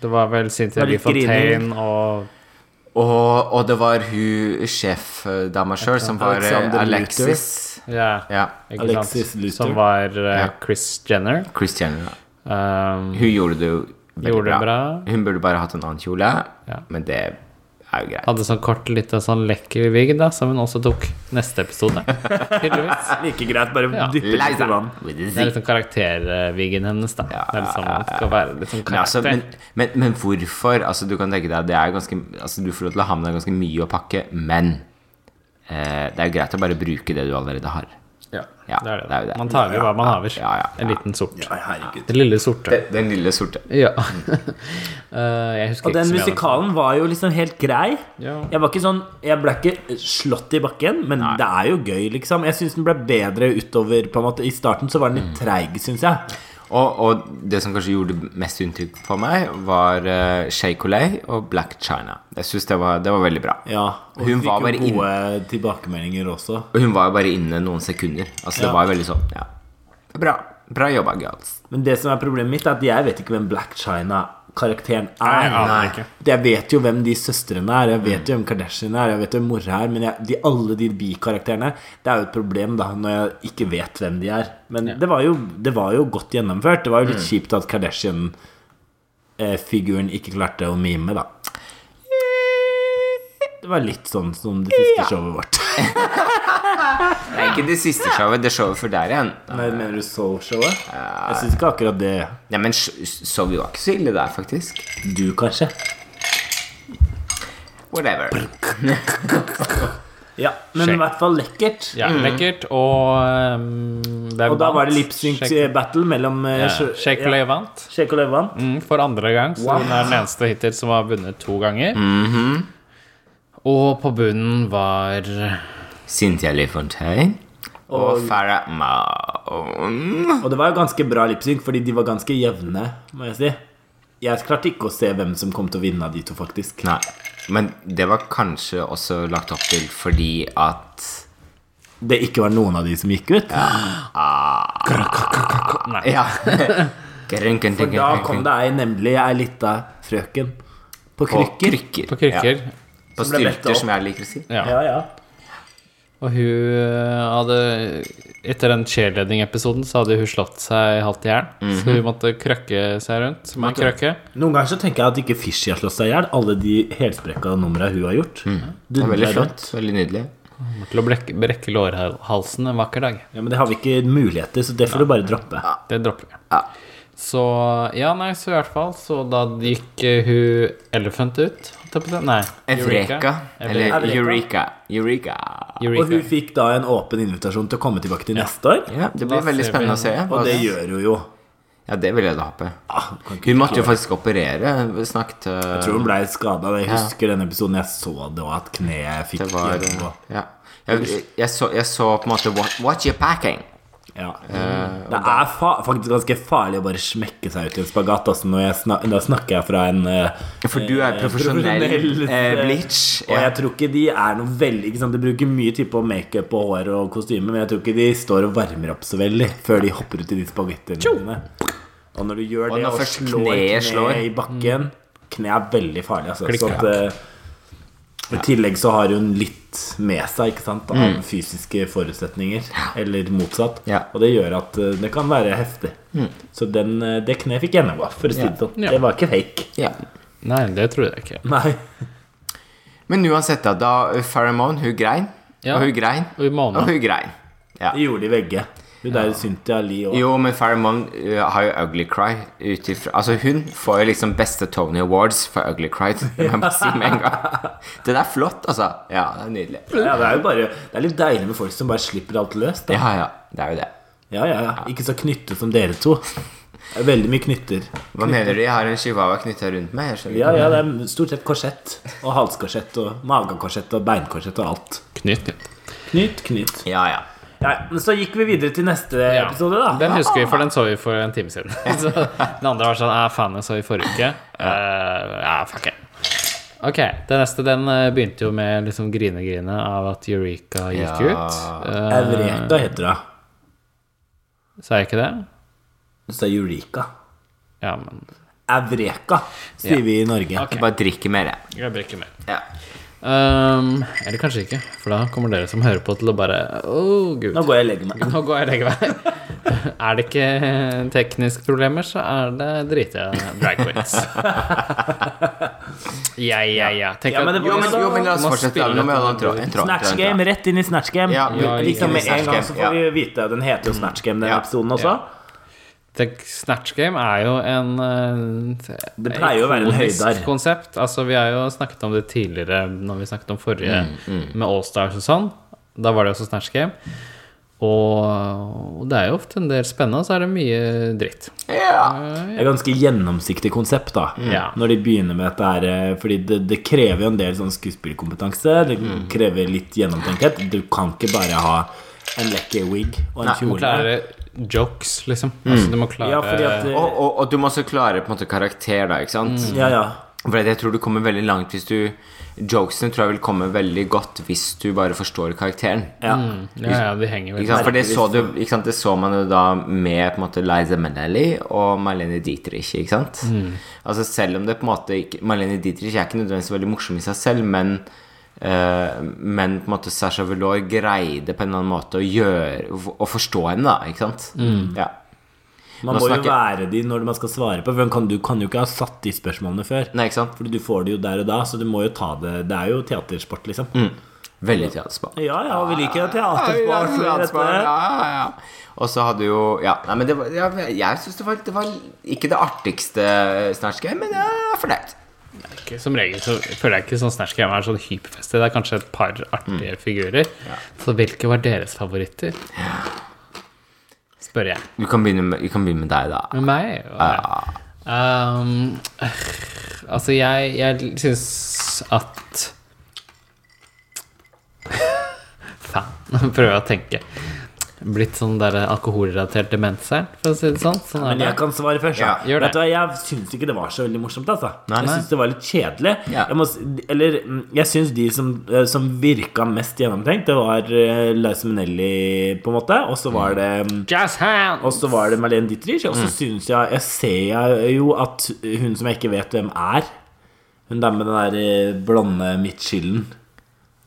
[SPEAKER 2] Det var vel
[SPEAKER 3] Det
[SPEAKER 2] Cynthia
[SPEAKER 3] var litt
[SPEAKER 2] Fontaine og
[SPEAKER 1] Og, og det var hun sjefdama sjøl, som var eh,
[SPEAKER 3] Alexander
[SPEAKER 1] Alexis.
[SPEAKER 2] Ja,
[SPEAKER 1] Ja,
[SPEAKER 2] ikke
[SPEAKER 3] Alexis
[SPEAKER 2] sant?
[SPEAKER 3] Luther.
[SPEAKER 2] Som var eh,
[SPEAKER 1] Ja.
[SPEAKER 2] Chris Jenner.
[SPEAKER 1] Kris Jenner. da.
[SPEAKER 2] Um,
[SPEAKER 1] Hun gjorde det jo veldig
[SPEAKER 2] Gjorde det
[SPEAKER 1] bra.
[SPEAKER 2] bra.
[SPEAKER 1] Hun burde bare hatt en annen kjole,
[SPEAKER 2] Ja.
[SPEAKER 1] men det er jo greit.
[SPEAKER 2] hadde sånn kort, liten sånn lekker vigg, da, som hun også tok neste episode. Tydeligvis.
[SPEAKER 3] Like greit, bare
[SPEAKER 2] Ja.
[SPEAKER 3] dyppe litt i
[SPEAKER 1] Liza
[SPEAKER 3] vann.
[SPEAKER 1] with a
[SPEAKER 2] Det er
[SPEAKER 1] Z.
[SPEAKER 2] liksom karakterviggen hennes, da.
[SPEAKER 1] Ja,
[SPEAKER 2] det er liksom, det skal være litt sånn
[SPEAKER 1] Men, altså,
[SPEAKER 2] karakter.
[SPEAKER 1] men, men, men hvorfor? Altså, du kan tenke deg, det er ganske, altså, du får lov til å ha med deg ganske mye å pakke, men eh, det er jo greit å bare bruke det du allerede har.
[SPEAKER 2] ja,
[SPEAKER 1] Ja,
[SPEAKER 2] det er det.
[SPEAKER 1] det er jo det.
[SPEAKER 2] Man tar jo hva man haver.
[SPEAKER 1] Ja, ja, ja.
[SPEAKER 2] En liten sort.
[SPEAKER 3] Nei, herregud.
[SPEAKER 2] Den lille sorte.
[SPEAKER 1] Den lille sorte.
[SPEAKER 2] Ja. Eh, jeg husker
[SPEAKER 3] Og den
[SPEAKER 2] ikke så mye av
[SPEAKER 3] musikalen var jo liksom helt grei.
[SPEAKER 2] Ja.
[SPEAKER 3] Jeg var ikke sånn Jeg ble ikke slått i bakken, men det er jo gøy, liksom. Jeg syns den ble bedre utover på en måte. I starten så var den litt treig, syns jeg.
[SPEAKER 1] Og, og det som kanskje gjorde mest inntrykk på meg, var uh, Shay Coley og Black China. Jeg synes det, var- det var veldig bra.
[SPEAKER 3] Ja, og
[SPEAKER 1] Hun
[SPEAKER 3] hun
[SPEAKER 1] var
[SPEAKER 3] fikk
[SPEAKER 1] bare
[SPEAKER 3] jo gode tilbakemeldinger også.
[SPEAKER 1] Og hun var jo bare inne noen sekunder. Altså Det
[SPEAKER 3] Ja.
[SPEAKER 1] var jo veldig sånn ja. Bra. Bra jobba, girls.
[SPEAKER 3] Men det som er problemet mitt, er at jeg vet ikke hvem Black China-karakteren
[SPEAKER 2] Nei, jeg
[SPEAKER 3] er.
[SPEAKER 2] aner ikke.
[SPEAKER 3] Jeg vet jo hvem de søstrene er, jeg vet jo hvem Kardashian er, jeg vet hvem mora er, men jeg, de, alle de bikarakterene Det er jo et problem da når jeg ikke vet hvem de er. Men det, var jo, det var jo godt gjennomført. Det var jo litt kjipt at Kardashian-figuren ikke klarte å mime, da. Det var litt sånn som det siste showet vårt.
[SPEAKER 1] Det er ikke det siste showet. Det showet før der igjen.
[SPEAKER 3] Nei, mener du Soul-showet? Jeg syns ikke akkurat det.
[SPEAKER 1] Nei, men så vi var ikke så ille der, faktisk.
[SPEAKER 3] Du, kanskje?
[SPEAKER 1] Whatever.
[SPEAKER 3] Ja, men i
[SPEAKER 2] Sjekk.
[SPEAKER 3] hvert fall lekkert.
[SPEAKER 2] Ja,
[SPEAKER 1] Mm.
[SPEAKER 2] lekkert, og um, det er
[SPEAKER 3] Og da
[SPEAKER 2] vant.
[SPEAKER 3] var det lipsync
[SPEAKER 2] Shake-
[SPEAKER 3] battle mellom eh,
[SPEAKER 2] ja, Shake Lay vant.
[SPEAKER 3] Shake og Levan.
[SPEAKER 2] Mm, for andre gang. Så hun er den eneste hittil som har vunnet to ganger.
[SPEAKER 1] Mm-hmm.
[SPEAKER 2] Og på bunnen var
[SPEAKER 1] Cynthia Lifontaine og Farah Maon.
[SPEAKER 3] Og det var jo ganske bra lipsync, fordi de var ganske jevne, må jeg si. Jeg klarte ikke å se hvem som kom til å vinne av de to, faktisk.
[SPEAKER 1] Nei. Men det var kanskje også lagt opp til fordi at
[SPEAKER 3] Det ikke var noen av de som gikk ut.
[SPEAKER 2] Nei.
[SPEAKER 1] Ja.
[SPEAKER 3] For da kom det ei, nemlig ei lita frøken på
[SPEAKER 1] på
[SPEAKER 3] krykker.
[SPEAKER 1] krykker.
[SPEAKER 2] På krykker.
[SPEAKER 1] Ja. På
[SPEAKER 3] Som ble
[SPEAKER 1] stylter,
[SPEAKER 3] lettet
[SPEAKER 1] som jeg liker å si.
[SPEAKER 2] Ja.
[SPEAKER 3] Ja, ja.
[SPEAKER 2] Og hun eh, hadde Etter den cheerleading-episoden så hadde hun slått seg halvt i hjel.
[SPEAKER 1] Mhm.
[SPEAKER 2] Så hun måtte krøkke seg rundt som en krøkke.
[SPEAKER 3] Noen ganger så tenker jeg at ikke Fishy har slått seg i hjel. Alle de helsprekka numra hun har gjort.
[SPEAKER 1] Mm. Det er veldig
[SPEAKER 3] Dundrer rundt.
[SPEAKER 1] flott. Veldig nydelig.
[SPEAKER 2] Kommer Til å brekke, brekke lårhalsen en vakker dag.
[SPEAKER 3] Ja, Men det har vi ikke muligheter, så det får du bare droppe.
[SPEAKER 2] Det dropper vi.
[SPEAKER 1] Ja.
[SPEAKER 2] Så ja, nei, så i hvert fall Så da gikk eh, hun Elephant ut, holdt holdt jeg på å si. Nei.
[SPEAKER 1] Eureka. Eller
[SPEAKER 3] Eureka.
[SPEAKER 1] Eureka. Eureka.
[SPEAKER 3] Og hun
[SPEAKER 2] Eureka.
[SPEAKER 3] fikk da en åpen invitasjon til å komme tilbake til neste år.
[SPEAKER 1] Ja, det
[SPEAKER 2] Da
[SPEAKER 1] blir veldig
[SPEAKER 2] ser vi.
[SPEAKER 1] spennende å se.
[SPEAKER 3] Og det
[SPEAKER 1] hva-
[SPEAKER 3] gjør hun jo.
[SPEAKER 1] Ja, det vil jeg da håpe.
[SPEAKER 3] Ah, kan ikke
[SPEAKER 1] Hun måtte jo
[SPEAKER 3] klare.
[SPEAKER 1] faktisk operere. Vi snakket eh,
[SPEAKER 3] Jeg tror hun blei skada. Jeg husker den episoden jeg så det, og at kneet fikk
[SPEAKER 1] Det var
[SPEAKER 3] hjelp,
[SPEAKER 1] eh,
[SPEAKER 3] og-
[SPEAKER 1] Ja. Jeg, jeg, så, jeg så på en måte What, what you packing?
[SPEAKER 3] Ja.
[SPEAKER 1] eh,
[SPEAKER 3] Det er fa faktisk ganske farlig å bare smekke seg ut i en spagat. Altså, når jeg snak da snakker jeg fra en eh,
[SPEAKER 1] For du er
[SPEAKER 3] eh,
[SPEAKER 1] profesjonell eh,
[SPEAKER 3] eh,
[SPEAKER 1] bleach.
[SPEAKER 3] Og
[SPEAKER 1] Ja.
[SPEAKER 3] jeg tror ikke de er noe veldig ikke sant? De bruker mye tid på makeup og hår og kostyme, men jeg tror ikke de står og varmer opp så veldig før de hopper ut i de spagettiene dine. Og når du gjør
[SPEAKER 1] Og
[SPEAKER 3] det
[SPEAKER 1] når
[SPEAKER 3] og
[SPEAKER 1] først
[SPEAKER 3] slår
[SPEAKER 1] kneet
[SPEAKER 3] kneet
[SPEAKER 1] slår. Mm.
[SPEAKER 3] i bakken Kneet er veldig farlig, altså.
[SPEAKER 2] Klikk,
[SPEAKER 3] Så at, eh, I tillegg så har hun litt med seg ikke sant? av fysiske forutsetninger, eller motsatt.
[SPEAKER 1] Mm. Ja. Mm.
[SPEAKER 3] Og det gjør at eh, det kan være heftig. Så den, eh, det kneet fikk gjennomgå, for å si det sånn.
[SPEAKER 2] Ja.
[SPEAKER 3] Det var ikke fake.
[SPEAKER 1] Ja.
[SPEAKER 2] Nei, det tror jeg ikke.
[SPEAKER 3] Nei.
[SPEAKER 1] Men uansett, da. da Pheromone, hun grein,
[SPEAKER 2] Ja.
[SPEAKER 1] og hun grein,
[SPEAKER 2] Og i måneden.
[SPEAKER 1] og hun grein. Ja.
[SPEAKER 3] Det gjorde de begge. Hun der Cynthia Lee og
[SPEAKER 1] Jo, men Pheromone uh, har jo Ugly Cry. Ut ifra, altså Hun får jo liksom beste Tony Awards for Ugly Cry. Det må jeg bare si med en gang. Det der er flott, altså. Ja, det er nydelig.
[SPEAKER 3] Ja, det er jo bare Det er litt deilig med folk som bare slipper alt løs. Da.
[SPEAKER 1] Ja, ja. Det er jo det.
[SPEAKER 3] Ja, ja, ja. Ikke så knyttet som dere to. Det er veldig mye knytter.
[SPEAKER 1] Hva mener du? Jeg har en chihuahua knytta rundt meg. Jeg skjønner.
[SPEAKER 3] Ja, ja, det er stort sett korsett. Og halskorsett og magekorsett og beinkorsett og alt.
[SPEAKER 2] Knytt, ja.
[SPEAKER 3] Knyt, knyt.
[SPEAKER 1] ikke. Ja, ja.
[SPEAKER 3] Ja, men så gikk vi videre til neste
[SPEAKER 2] Ja.
[SPEAKER 3] episode, da. Ah.
[SPEAKER 2] Den husker vi, for den så vi for en time siden. så den andre var sånn Ja, faen, jeg så i forrige uke. Eh, Ja, fuck it. Ok, den neste den eh, begynte jo med liksom grine-grine av at Eureka gikk
[SPEAKER 1] Ja.
[SPEAKER 2] ut.
[SPEAKER 3] Eureka heter hun.
[SPEAKER 2] Eh, sa jeg ikke det?
[SPEAKER 3] Du sa Eureka.
[SPEAKER 2] Ja, men
[SPEAKER 3] Eureka, sier vi i Norge.
[SPEAKER 1] Jeg bare drikker mer, jeg.
[SPEAKER 2] Jeg brekker mer.
[SPEAKER 1] Ja.
[SPEAKER 2] Um, eller kanskje ikke, for da kommer dere som hører på, til å bare Å, gud.
[SPEAKER 3] Nå går jeg og legger meg.
[SPEAKER 2] Nå går jeg begge veier. er det ikke eh, tekniske problemer, så er det drite drag queens. ja, ja, ja. Tenk
[SPEAKER 3] Ja, men det var-
[SPEAKER 1] Jo, men, jo, men la oss
[SPEAKER 2] Må
[SPEAKER 1] fortsette.
[SPEAKER 2] spille
[SPEAKER 1] Nå må jeg ha en tråd. En tråd.
[SPEAKER 3] Snatch
[SPEAKER 1] en tråd.
[SPEAKER 3] Game, rett inn i Snatch Game.
[SPEAKER 1] Ja,
[SPEAKER 2] ja,
[SPEAKER 3] liksom med
[SPEAKER 1] Snatch
[SPEAKER 3] en gang så
[SPEAKER 1] Game,
[SPEAKER 3] får vi vite Den heter jo Snatch Game, den
[SPEAKER 1] Ja.
[SPEAKER 3] episoden også.
[SPEAKER 2] Tenk, Snatch Game er jo en eh,
[SPEAKER 3] Det pleier jo å være en
[SPEAKER 2] ikonisk
[SPEAKER 3] høydar.
[SPEAKER 2] konsept. Altså, vi har jo snakket om det tidligere, når vi snakket om forrige, med Allstars og sånn. Da var det også Snatch Game. Og, og det er jo ofte en del spennende, og så er det mye dritt.
[SPEAKER 1] Ja.
[SPEAKER 3] Det er ganske gjennomsiktig konsept da
[SPEAKER 1] Mm.
[SPEAKER 2] Ja.
[SPEAKER 3] Når de begynner med dette her eh, Fordi det, det krever jo en del sånn skuespillkompetanse Det
[SPEAKER 1] Mm.
[SPEAKER 3] krever litt gjennomtenkhet Du kan ikke bare ha en lekker wig Og en
[SPEAKER 2] Du må
[SPEAKER 3] kjole
[SPEAKER 2] klare jokes, liksom.
[SPEAKER 1] Mm.
[SPEAKER 2] Altså, du må klare
[SPEAKER 3] Ja, fordi at eh,
[SPEAKER 1] Og, og, og du må også klare på en måte karakter, da, ikke sant?
[SPEAKER 3] Ja, ja
[SPEAKER 1] For jeg tror du kommer veldig langt hvis du Jokesene tror jeg vil komme veldig godt hvis du bare forstår karakteren.
[SPEAKER 3] ja.
[SPEAKER 2] Ja, ja, de henger
[SPEAKER 1] Ikke
[SPEAKER 2] veldig
[SPEAKER 1] sant? For det så, du, ikke sant? det så man jo da med på en måte Liza Minnelli og Marlene Dietrich. Ikke sant? Altså Selv om det på en måte ikke Marlene Dietrich er ikke nødvendigvis veldig morsom i seg selv, men eh, men på en måte Sasha Velour greide på en eller annen måte å gjøre Å forstå henne, da. Ikke sant? Ja.
[SPEAKER 3] Man
[SPEAKER 1] Nå
[SPEAKER 3] må jo
[SPEAKER 1] snakker-
[SPEAKER 3] være de når man skal svare på For man kan, du kan jo ikke ha satt de spørsmålene før
[SPEAKER 1] Nei, ikke sant?
[SPEAKER 3] Fordi du får det jo der og da Så du må jo ta det Det er jo teatersport liksom
[SPEAKER 1] Mm. Veldig teatersport.
[SPEAKER 3] Ja, ja, vi liker jo teatersport så det er dette.
[SPEAKER 1] Ja, ja, ja. Og så hadde jo Ja, nei, men det var, ja, jeg syns det, var- det var ikke det artigste Snatch Game, men jeg er fornøyd.
[SPEAKER 2] Ikke- Som regel så føler jeg ikke sånn Snatch Game er sånn hyperfestig. Det er kanskje et par artige
[SPEAKER 1] Mm.
[SPEAKER 2] figurer. Så hvilke var deres favoritter? Spør jeg.
[SPEAKER 1] Vi kan begynne med, vi kan begynne med deg, da.
[SPEAKER 2] Med meg? og- Um, øh, altså, jeg, jeg syns at Faen. Nå prøver jeg å tenke. Blitt sånn der alkoholrelatert demens her, for å si det sånn. sånn er
[SPEAKER 3] Men jeg
[SPEAKER 2] det.
[SPEAKER 3] kan svare først.
[SPEAKER 1] Ja,
[SPEAKER 3] Ja,
[SPEAKER 2] gjør det.
[SPEAKER 3] Vet du, hva, jeg syns ikke det var så veldig morsomt. Altså.
[SPEAKER 1] Nei,
[SPEAKER 3] Jeg
[SPEAKER 1] nei.
[SPEAKER 3] syns det var litt kjedelig.
[SPEAKER 1] Ja.
[SPEAKER 3] Jeg må, s- eller mm, jeg syns de som, eh, som virka mest gjennomtenkt, det var eh, Liza Minnelli, på en måte, og så var det mm,
[SPEAKER 2] Jazz hands!
[SPEAKER 3] og så var det Marlene Dietrich, og så syns jeg Jeg ser jeg jo at hun som jeg ikke vet hvem er, hun der med den der eh, blonde midtskillen,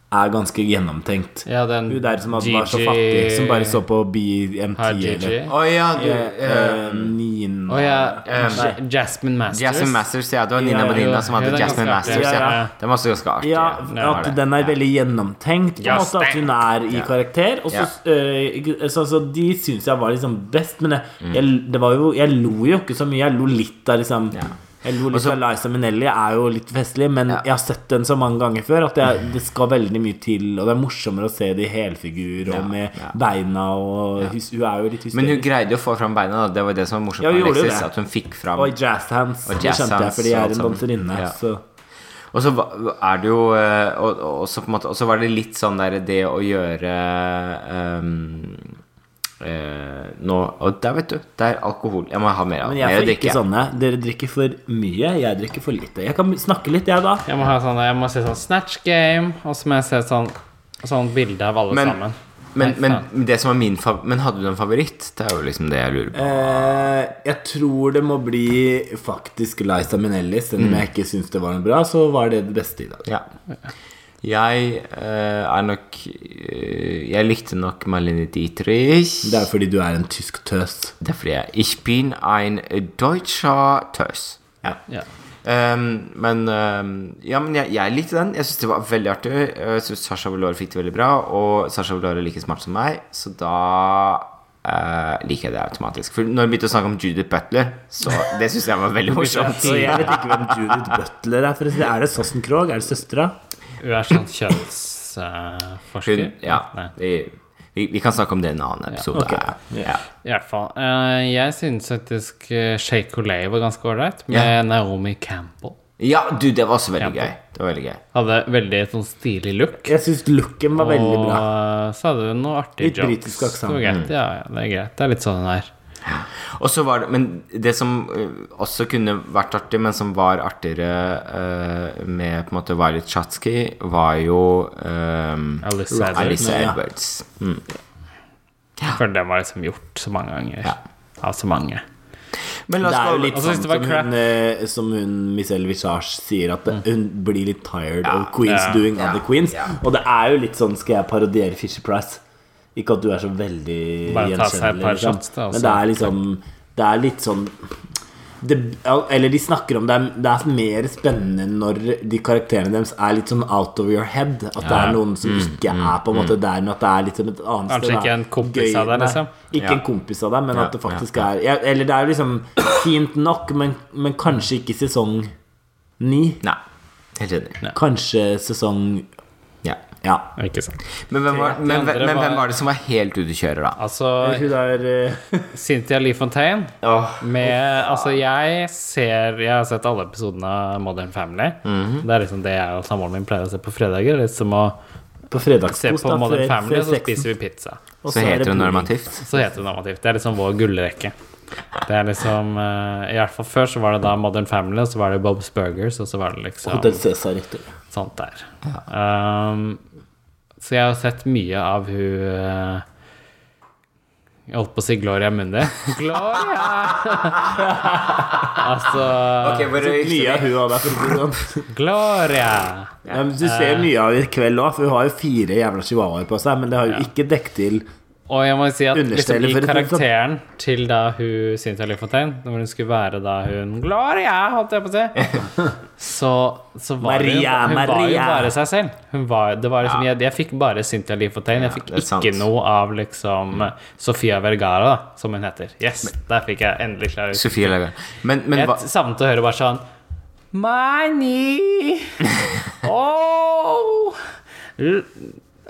[SPEAKER 3] er ganske gjennomtenkt.
[SPEAKER 2] Ja, den
[SPEAKER 3] Hun der som hadde- var så
[SPEAKER 2] Gigi-
[SPEAKER 3] fattig, som bare så på BMT
[SPEAKER 2] Her,
[SPEAKER 3] eller
[SPEAKER 2] Gigi.
[SPEAKER 1] Å ja, du eh,
[SPEAKER 3] Eh, Nina
[SPEAKER 2] Å ja.
[SPEAKER 3] Nei.
[SPEAKER 2] J- Jasmine Masters.
[SPEAKER 1] Jasmine Masters, ja. Det var Nina
[SPEAKER 3] Ja,
[SPEAKER 1] Bonina
[SPEAKER 2] ja.
[SPEAKER 1] som hadde
[SPEAKER 2] Ja, det er
[SPEAKER 1] Jasmine
[SPEAKER 2] ganske
[SPEAKER 1] Masters.
[SPEAKER 3] artig.
[SPEAKER 1] Ja,
[SPEAKER 3] Ja,
[SPEAKER 2] ja.
[SPEAKER 1] Den var også ganske artig.
[SPEAKER 3] Ja,
[SPEAKER 1] det var
[SPEAKER 3] at
[SPEAKER 1] det.
[SPEAKER 3] den er veldig gjennomtenkt. På
[SPEAKER 2] Ja,
[SPEAKER 3] en måte At hun er i
[SPEAKER 1] Ja.
[SPEAKER 3] karakter. Og så, øh, så, så De syns jeg var liksom best, men jeg, jeg, det var jo, jeg lo jo ikke så mye. Jeg lo litt av liksom
[SPEAKER 1] Ja.
[SPEAKER 3] Lolita Liza Minnelli er jo litt festlig, men jeg har sett den så mange ganger før at jeg, det skal veldig mye til, og det er morsommere å se det i helfigur og
[SPEAKER 1] Ja,
[SPEAKER 3] med
[SPEAKER 1] ja.
[SPEAKER 3] beina og hus, Hun er jo litt hysterisk.
[SPEAKER 1] Men hun greide jo å få fram beina, da. Det var det som var morsomt
[SPEAKER 3] Ja, hun
[SPEAKER 1] med
[SPEAKER 3] gjorde jo
[SPEAKER 1] Alexis.
[SPEAKER 3] det.
[SPEAKER 1] At hun fikk fram
[SPEAKER 3] og i jazzhands,
[SPEAKER 1] Og
[SPEAKER 3] det skjønte jeg,
[SPEAKER 1] jazzhands
[SPEAKER 3] fordi jeg
[SPEAKER 1] og
[SPEAKER 3] er en
[SPEAKER 1] alt sammen.
[SPEAKER 3] danserinne.
[SPEAKER 1] Ja.
[SPEAKER 3] Så
[SPEAKER 1] Og så va- er det jo eh, Og, og, så, på en måte, og så var det litt sånn der det å gjøre eh, eh, Nå Og der, vet du. Det er alkohol. Jeg må ha mer av
[SPEAKER 3] Men
[SPEAKER 1] mer
[SPEAKER 3] jeg
[SPEAKER 1] å
[SPEAKER 3] får
[SPEAKER 1] drikke.
[SPEAKER 3] ikke sånn. sånne. Dere drikker for mye, jeg drikker for lite. Jeg kan snakke litt, jeg, da.
[SPEAKER 2] Jeg må, ha sånn, jeg må se sånn Snatch Game, og så må jeg se sånn, sånn bilde av alle
[SPEAKER 1] Men-
[SPEAKER 2] sammen.
[SPEAKER 1] Men,
[SPEAKER 2] Nei, faen.
[SPEAKER 1] men det som var min fav Men hadde du en favoritt? Det er jo liksom det jeg lurer på.
[SPEAKER 3] Eh, jeg tror det må bli faktisk Liza Minnelli. Selv om jeg ikke syns det var noe bra, så var det det beste i dag.
[SPEAKER 1] Ja. Jeg eh, er nok eh, Jeg likte nok Marlene Dietrich.
[SPEAKER 3] Det er fordi du er en tysk tøs.
[SPEAKER 1] Det er fordi jeg Ich bin ein deutscher Tøs.
[SPEAKER 2] Ja.
[SPEAKER 1] Ehm, men ehm, Ja, men jeg, jeg likte den. Jeg syns det var veldig artig. Eh, Jeg syns Sasha Velour fikk det veldig bra, og Sasha Velour er like smart som meg, så da eh, liker jeg det automatisk. For når vi begynte å snakke om Judith Butler, så det syns jeg var veldig morsomt.
[SPEAKER 3] Så jeg vet ikke hvem Judith Butler er. For å si. Er det Sossen Krogh? Er det søstera?
[SPEAKER 2] Hun er sånn kjønnsforsker.
[SPEAKER 1] Hun, ja,
[SPEAKER 2] Nei.
[SPEAKER 1] vi, vi, vi kan snakke om det i en annen episode.
[SPEAKER 3] ok.
[SPEAKER 1] Ja.
[SPEAKER 2] I hvert fall. Eh, jeg synes faktisk eh, Shake Olay var ganske ålreit, med
[SPEAKER 1] Ja.
[SPEAKER 2] Naomi Campbell.
[SPEAKER 1] ja, du, det var også veldig
[SPEAKER 2] Ja.
[SPEAKER 1] gøy. Det var veldig gøy.
[SPEAKER 2] Hadde veldig sånn stilig look.
[SPEAKER 3] Jeg syns looken var veldig
[SPEAKER 2] Og
[SPEAKER 3] bra.
[SPEAKER 2] eh, så hadde hun noe artig
[SPEAKER 3] Litt britisk aksent. Mm.
[SPEAKER 2] Det var greit. Ja, ja, det er greit. Det er litt sånn hun er.
[SPEAKER 1] Og så var det, Men det som eh, også kunne vært artig, men som var artigere eh, med på en måte Violet Chatsky, var jo eh,
[SPEAKER 2] Alice Adler.
[SPEAKER 1] Alice
[SPEAKER 3] Ja.
[SPEAKER 1] Edwards. Mm.
[SPEAKER 2] For den var liksom gjort så mange ganger.
[SPEAKER 1] Ja.
[SPEAKER 2] Av så mange.
[SPEAKER 1] Men la
[SPEAKER 3] Det
[SPEAKER 1] oss
[SPEAKER 3] er jo
[SPEAKER 1] gå-
[SPEAKER 3] litt
[SPEAKER 2] Altså, hvis
[SPEAKER 3] sånn
[SPEAKER 2] det var
[SPEAKER 3] som
[SPEAKER 2] crap- Mm.
[SPEAKER 3] hun, eh, som hun Michelle Visage sier, at hun blir litt tired of queens
[SPEAKER 2] ja,
[SPEAKER 3] doing
[SPEAKER 1] ja,
[SPEAKER 3] other queens.
[SPEAKER 1] ja.
[SPEAKER 3] Og det er jo litt sånn Skal jeg parodiere Fisher Price? Ikke at du er så veldig
[SPEAKER 2] Bare ta seg et
[SPEAKER 3] gjenkjennelig,
[SPEAKER 2] par
[SPEAKER 3] liksom.
[SPEAKER 2] shots, da, og
[SPEAKER 3] men det
[SPEAKER 2] så-
[SPEAKER 3] er liksom Det er litt sånn det, eller de snakker om det er, det er mer spennende når de karakterene deres er litt sånn out of your head. At det er noen som ikke er på en måte der, men at det er litt som et annet
[SPEAKER 2] Mm, Kanskje ikke
[SPEAKER 3] da.
[SPEAKER 2] en kompis
[SPEAKER 3] Gøy-
[SPEAKER 2] av deg,
[SPEAKER 3] nei,
[SPEAKER 2] liksom.
[SPEAKER 3] Ikke
[SPEAKER 1] Ja.
[SPEAKER 3] en kompis av deg, men
[SPEAKER 1] Ja,
[SPEAKER 3] at det faktisk er ja, Eller det er jo liksom fint nok, men, men kanskje ikke sesong ni.
[SPEAKER 1] Nei. Helt enig.
[SPEAKER 3] Kanskje sesong
[SPEAKER 1] Ja.
[SPEAKER 3] Ja.
[SPEAKER 2] Ikke sant.
[SPEAKER 1] Men, hvem var,
[SPEAKER 2] De
[SPEAKER 1] men,
[SPEAKER 2] andre
[SPEAKER 1] men
[SPEAKER 2] var-
[SPEAKER 1] hvem var det som var helt ute å kjøre, da?
[SPEAKER 2] Altså,
[SPEAKER 3] Hun der eh,
[SPEAKER 2] Cynthia Lee Fontaine
[SPEAKER 1] Åh,
[SPEAKER 2] med Altså, jeg ser Jeg har sett alle episodene av Modern Family.
[SPEAKER 3] Mhm.
[SPEAKER 2] Det er liksom det jeg og samboeren min pleier å se på fredager. Det er Litt som å
[SPEAKER 3] På
[SPEAKER 2] se
[SPEAKER 3] fredagskost,
[SPEAKER 2] på Modern Family, og så
[SPEAKER 3] sexen.
[SPEAKER 2] spiser vi pizza.
[SPEAKER 3] Og
[SPEAKER 1] så
[SPEAKER 3] er det
[SPEAKER 1] heter hun
[SPEAKER 3] bording.
[SPEAKER 1] normativt.
[SPEAKER 2] Så heter det normativt. Det er liksom vår gullrekke. Det er liksom eh, I hvert fall før så var det da Modern Family, og så var det Bob's Burgers, og så var det liksom
[SPEAKER 3] Hotel Cæsar etter.
[SPEAKER 2] sånt der. Um, så jeg har sett mye av hun eh, Jeg holdt på å si Gloria Mundi. Gloria! altså
[SPEAKER 3] Mye av hun og deg, for å si det sånn.
[SPEAKER 2] Gloria!
[SPEAKER 3] Ja, men Du ser mye av henne i kveld òg, for hun har jo fire jævla chihuahuaer på seg, men det har jo ikke dekket til
[SPEAKER 2] Og jeg må jo si at liksom,
[SPEAKER 3] Understeller
[SPEAKER 2] i
[SPEAKER 3] for et
[SPEAKER 2] karakteren til da hun Cynthia Lyfontaine, når hun skulle være da hun Gloria, holdt jeg på å si, så, så var det jo-
[SPEAKER 3] Maria,
[SPEAKER 2] hun, hun var jo
[SPEAKER 3] Maria.
[SPEAKER 2] bare seg selv. Hun var, det var liksom, jeg, jeg fikk bare Cynthia Lyfontaine. Jeg fikk
[SPEAKER 1] det er sant.
[SPEAKER 2] ikke noe av liksom
[SPEAKER 3] Mm.
[SPEAKER 2] Sofia Vergara, da, som hun heter. Yes, der fikk jeg endelig klar ut.
[SPEAKER 1] Sofie Lagarde. Men, men hva
[SPEAKER 2] Jeg savnet å høre bare sånn Money! Oh! L-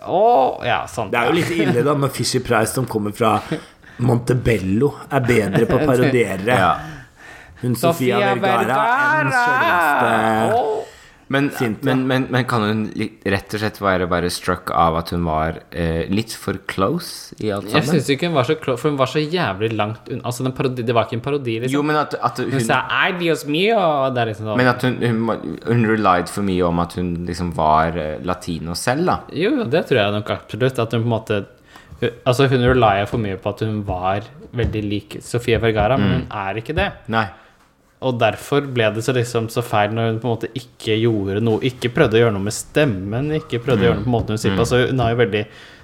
[SPEAKER 2] Oh, ja, sånn.
[SPEAKER 3] Det er jo litt ille da når Fisher Price som kommer fra Montebello er bedre på å parodiere
[SPEAKER 1] ja.
[SPEAKER 3] hun Sofia Vergara enn selveste
[SPEAKER 2] Åh.
[SPEAKER 1] Men,
[SPEAKER 3] Sint, ja.
[SPEAKER 1] men, men, men kan hun litt, rett og slett være bare struck av at hun var eh, litt for close i alt
[SPEAKER 2] Jeg
[SPEAKER 1] sammen?
[SPEAKER 2] syns ikke hun var så klo- for hun var så jævlig langt unna. Altså, den parodi, det var ikke en parodi, liksom.
[SPEAKER 1] Jo, men at, at
[SPEAKER 2] hun
[SPEAKER 1] hun
[SPEAKER 2] sa «Ay, Dios mío», og det er liksom sånn
[SPEAKER 1] Men at hun, hun, må- hun relied for mye om at hun liksom var eh, latino selv, da.
[SPEAKER 2] Jo, jo, det tror jeg nok absolutt. At hun på en måte hun- Altså, hun relya for mye på at hun var veldig lik Sofie Vergara,
[SPEAKER 1] Mm.
[SPEAKER 2] men hun er ikke det.
[SPEAKER 1] Nei.
[SPEAKER 2] Og derfor ble det så liksom så feil når hun på en måte ikke gjorde noe Ikke prøvde å gjøre noe med stemmen, ikke prøvde å gjøre noe på måten hun
[SPEAKER 3] Mm.
[SPEAKER 2] sier på. Altså, hun har jo veldig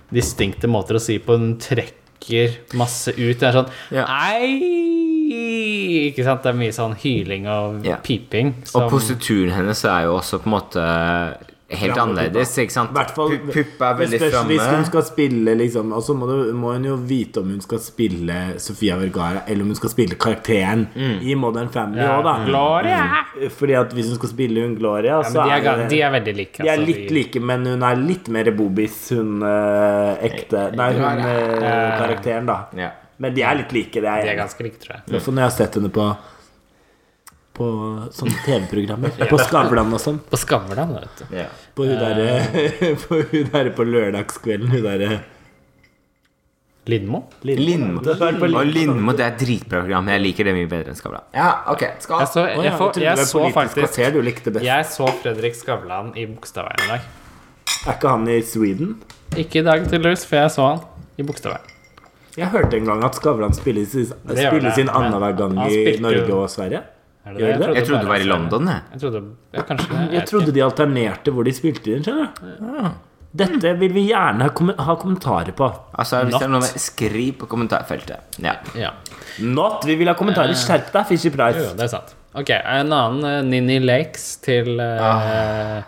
[SPEAKER 2] distinkte måter å si på. Hun trekker masse ut. Det er sånn
[SPEAKER 1] Ja.
[SPEAKER 2] Ei! Ikke sant? Det er mye sånn hyling og
[SPEAKER 1] Ja.
[SPEAKER 2] piping.
[SPEAKER 1] Og
[SPEAKER 2] som-
[SPEAKER 1] postituren hennes er jo også på en måte eh, helt
[SPEAKER 3] Fram med
[SPEAKER 1] annerledes,
[SPEAKER 3] puppa.
[SPEAKER 1] ikke sant?
[SPEAKER 3] I hvert fall-
[SPEAKER 1] Pu- Puppa er
[SPEAKER 3] det
[SPEAKER 1] veldig
[SPEAKER 3] spørs Hvis
[SPEAKER 1] framme.
[SPEAKER 3] hun skal spille liksom Og så må, du, må hun jo vite om hun skal spille Sofia Vergara, eller om hun skal spille karakteren
[SPEAKER 1] Mm.
[SPEAKER 3] i Modern Family
[SPEAKER 2] Ja,
[SPEAKER 3] også, da. Mm.
[SPEAKER 2] Gloria!
[SPEAKER 3] Fordi at hvis hun skal spille hun Gloria,
[SPEAKER 2] Ja,
[SPEAKER 3] så
[SPEAKER 2] men de, er,
[SPEAKER 3] er,
[SPEAKER 2] ga-
[SPEAKER 3] det
[SPEAKER 2] de er veldig like.
[SPEAKER 3] de er
[SPEAKER 2] altså,
[SPEAKER 3] litt
[SPEAKER 2] de-
[SPEAKER 3] like, men hun er litt mer bobis, hun eh, ekte Nei, hun eh, karakteren, da.
[SPEAKER 1] Ja.
[SPEAKER 3] Men de er litt like, det
[SPEAKER 2] De
[SPEAKER 3] er
[SPEAKER 2] er
[SPEAKER 3] jeg.
[SPEAKER 2] ganske like, tror jeg.
[SPEAKER 3] Det er sånn jeg har sett henne på På sånne TV-programmer. På Skavlan og sånn.
[SPEAKER 2] På Skavlan, da, vet du.
[SPEAKER 1] Ja.
[SPEAKER 3] På hun
[SPEAKER 1] Eh.
[SPEAKER 3] derre på, hun der på lørdagskvelden, hun eh, derre
[SPEAKER 2] Lindmo.
[SPEAKER 1] Lindmo.
[SPEAKER 3] Det er sånn- på
[SPEAKER 1] Og
[SPEAKER 3] Lindmo.
[SPEAKER 1] Lindmo, det er et dritbra program. Jeg liker det mye bedre enn Skavlan. Ja, ok, skal
[SPEAKER 2] Jeg så,
[SPEAKER 3] Å,
[SPEAKER 2] jeg,
[SPEAKER 3] trodde
[SPEAKER 2] får-
[SPEAKER 3] det var
[SPEAKER 2] jeg så
[SPEAKER 3] Politisk
[SPEAKER 2] faktisk
[SPEAKER 3] kvarter du likte best.
[SPEAKER 2] Jeg så Fredrik Skavlan i Bogstadveien i dag.
[SPEAKER 3] Er ikke han i Sweden?
[SPEAKER 2] Ikke i dag, tydeligvis, for jeg så han i Bogstadveien.
[SPEAKER 3] Jeg hørte en gang at Skavlan spilles,
[SPEAKER 2] gjør
[SPEAKER 3] spilles
[SPEAKER 2] det,
[SPEAKER 3] inn
[SPEAKER 2] men
[SPEAKER 3] annenhver gang
[SPEAKER 2] han
[SPEAKER 3] i
[SPEAKER 2] spilte
[SPEAKER 3] Norge
[SPEAKER 2] jo-
[SPEAKER 3] og Sverige.
[SPEAKER 2] Er
[SPEAKER 3] Gjør det?
[SPEAKER 1] Jeg trodde det var i
[SPEAKER 2] bare-
[SPEAKER 1] London, jeg.
[SPEAKER 2] Jeg trodde ja, kanskje det.
[SPEAKER 3] Jeg trodde de alternerte hvor de spilte inn, skjønner du. Dette vil vi gjerne ha, kom ha kommentarer på.
[SPEAKER 1] Altså, hvis det er noe
[SPEAKER 2] Natt.
[SPEAKER 1] med Skriv på kommentarfeltet. Ja.
[SPEAKER 2] ja.
[SPEAKER 3] Not! Vi vil ha kommentarer. Skjerp deg, Fisher
[SPEAKER 2] Jo,
[SPEAKER 3] Price.
[SPEAKER 2] jo, det er sant. Ok, en annen eh, Nini Lakes til eh,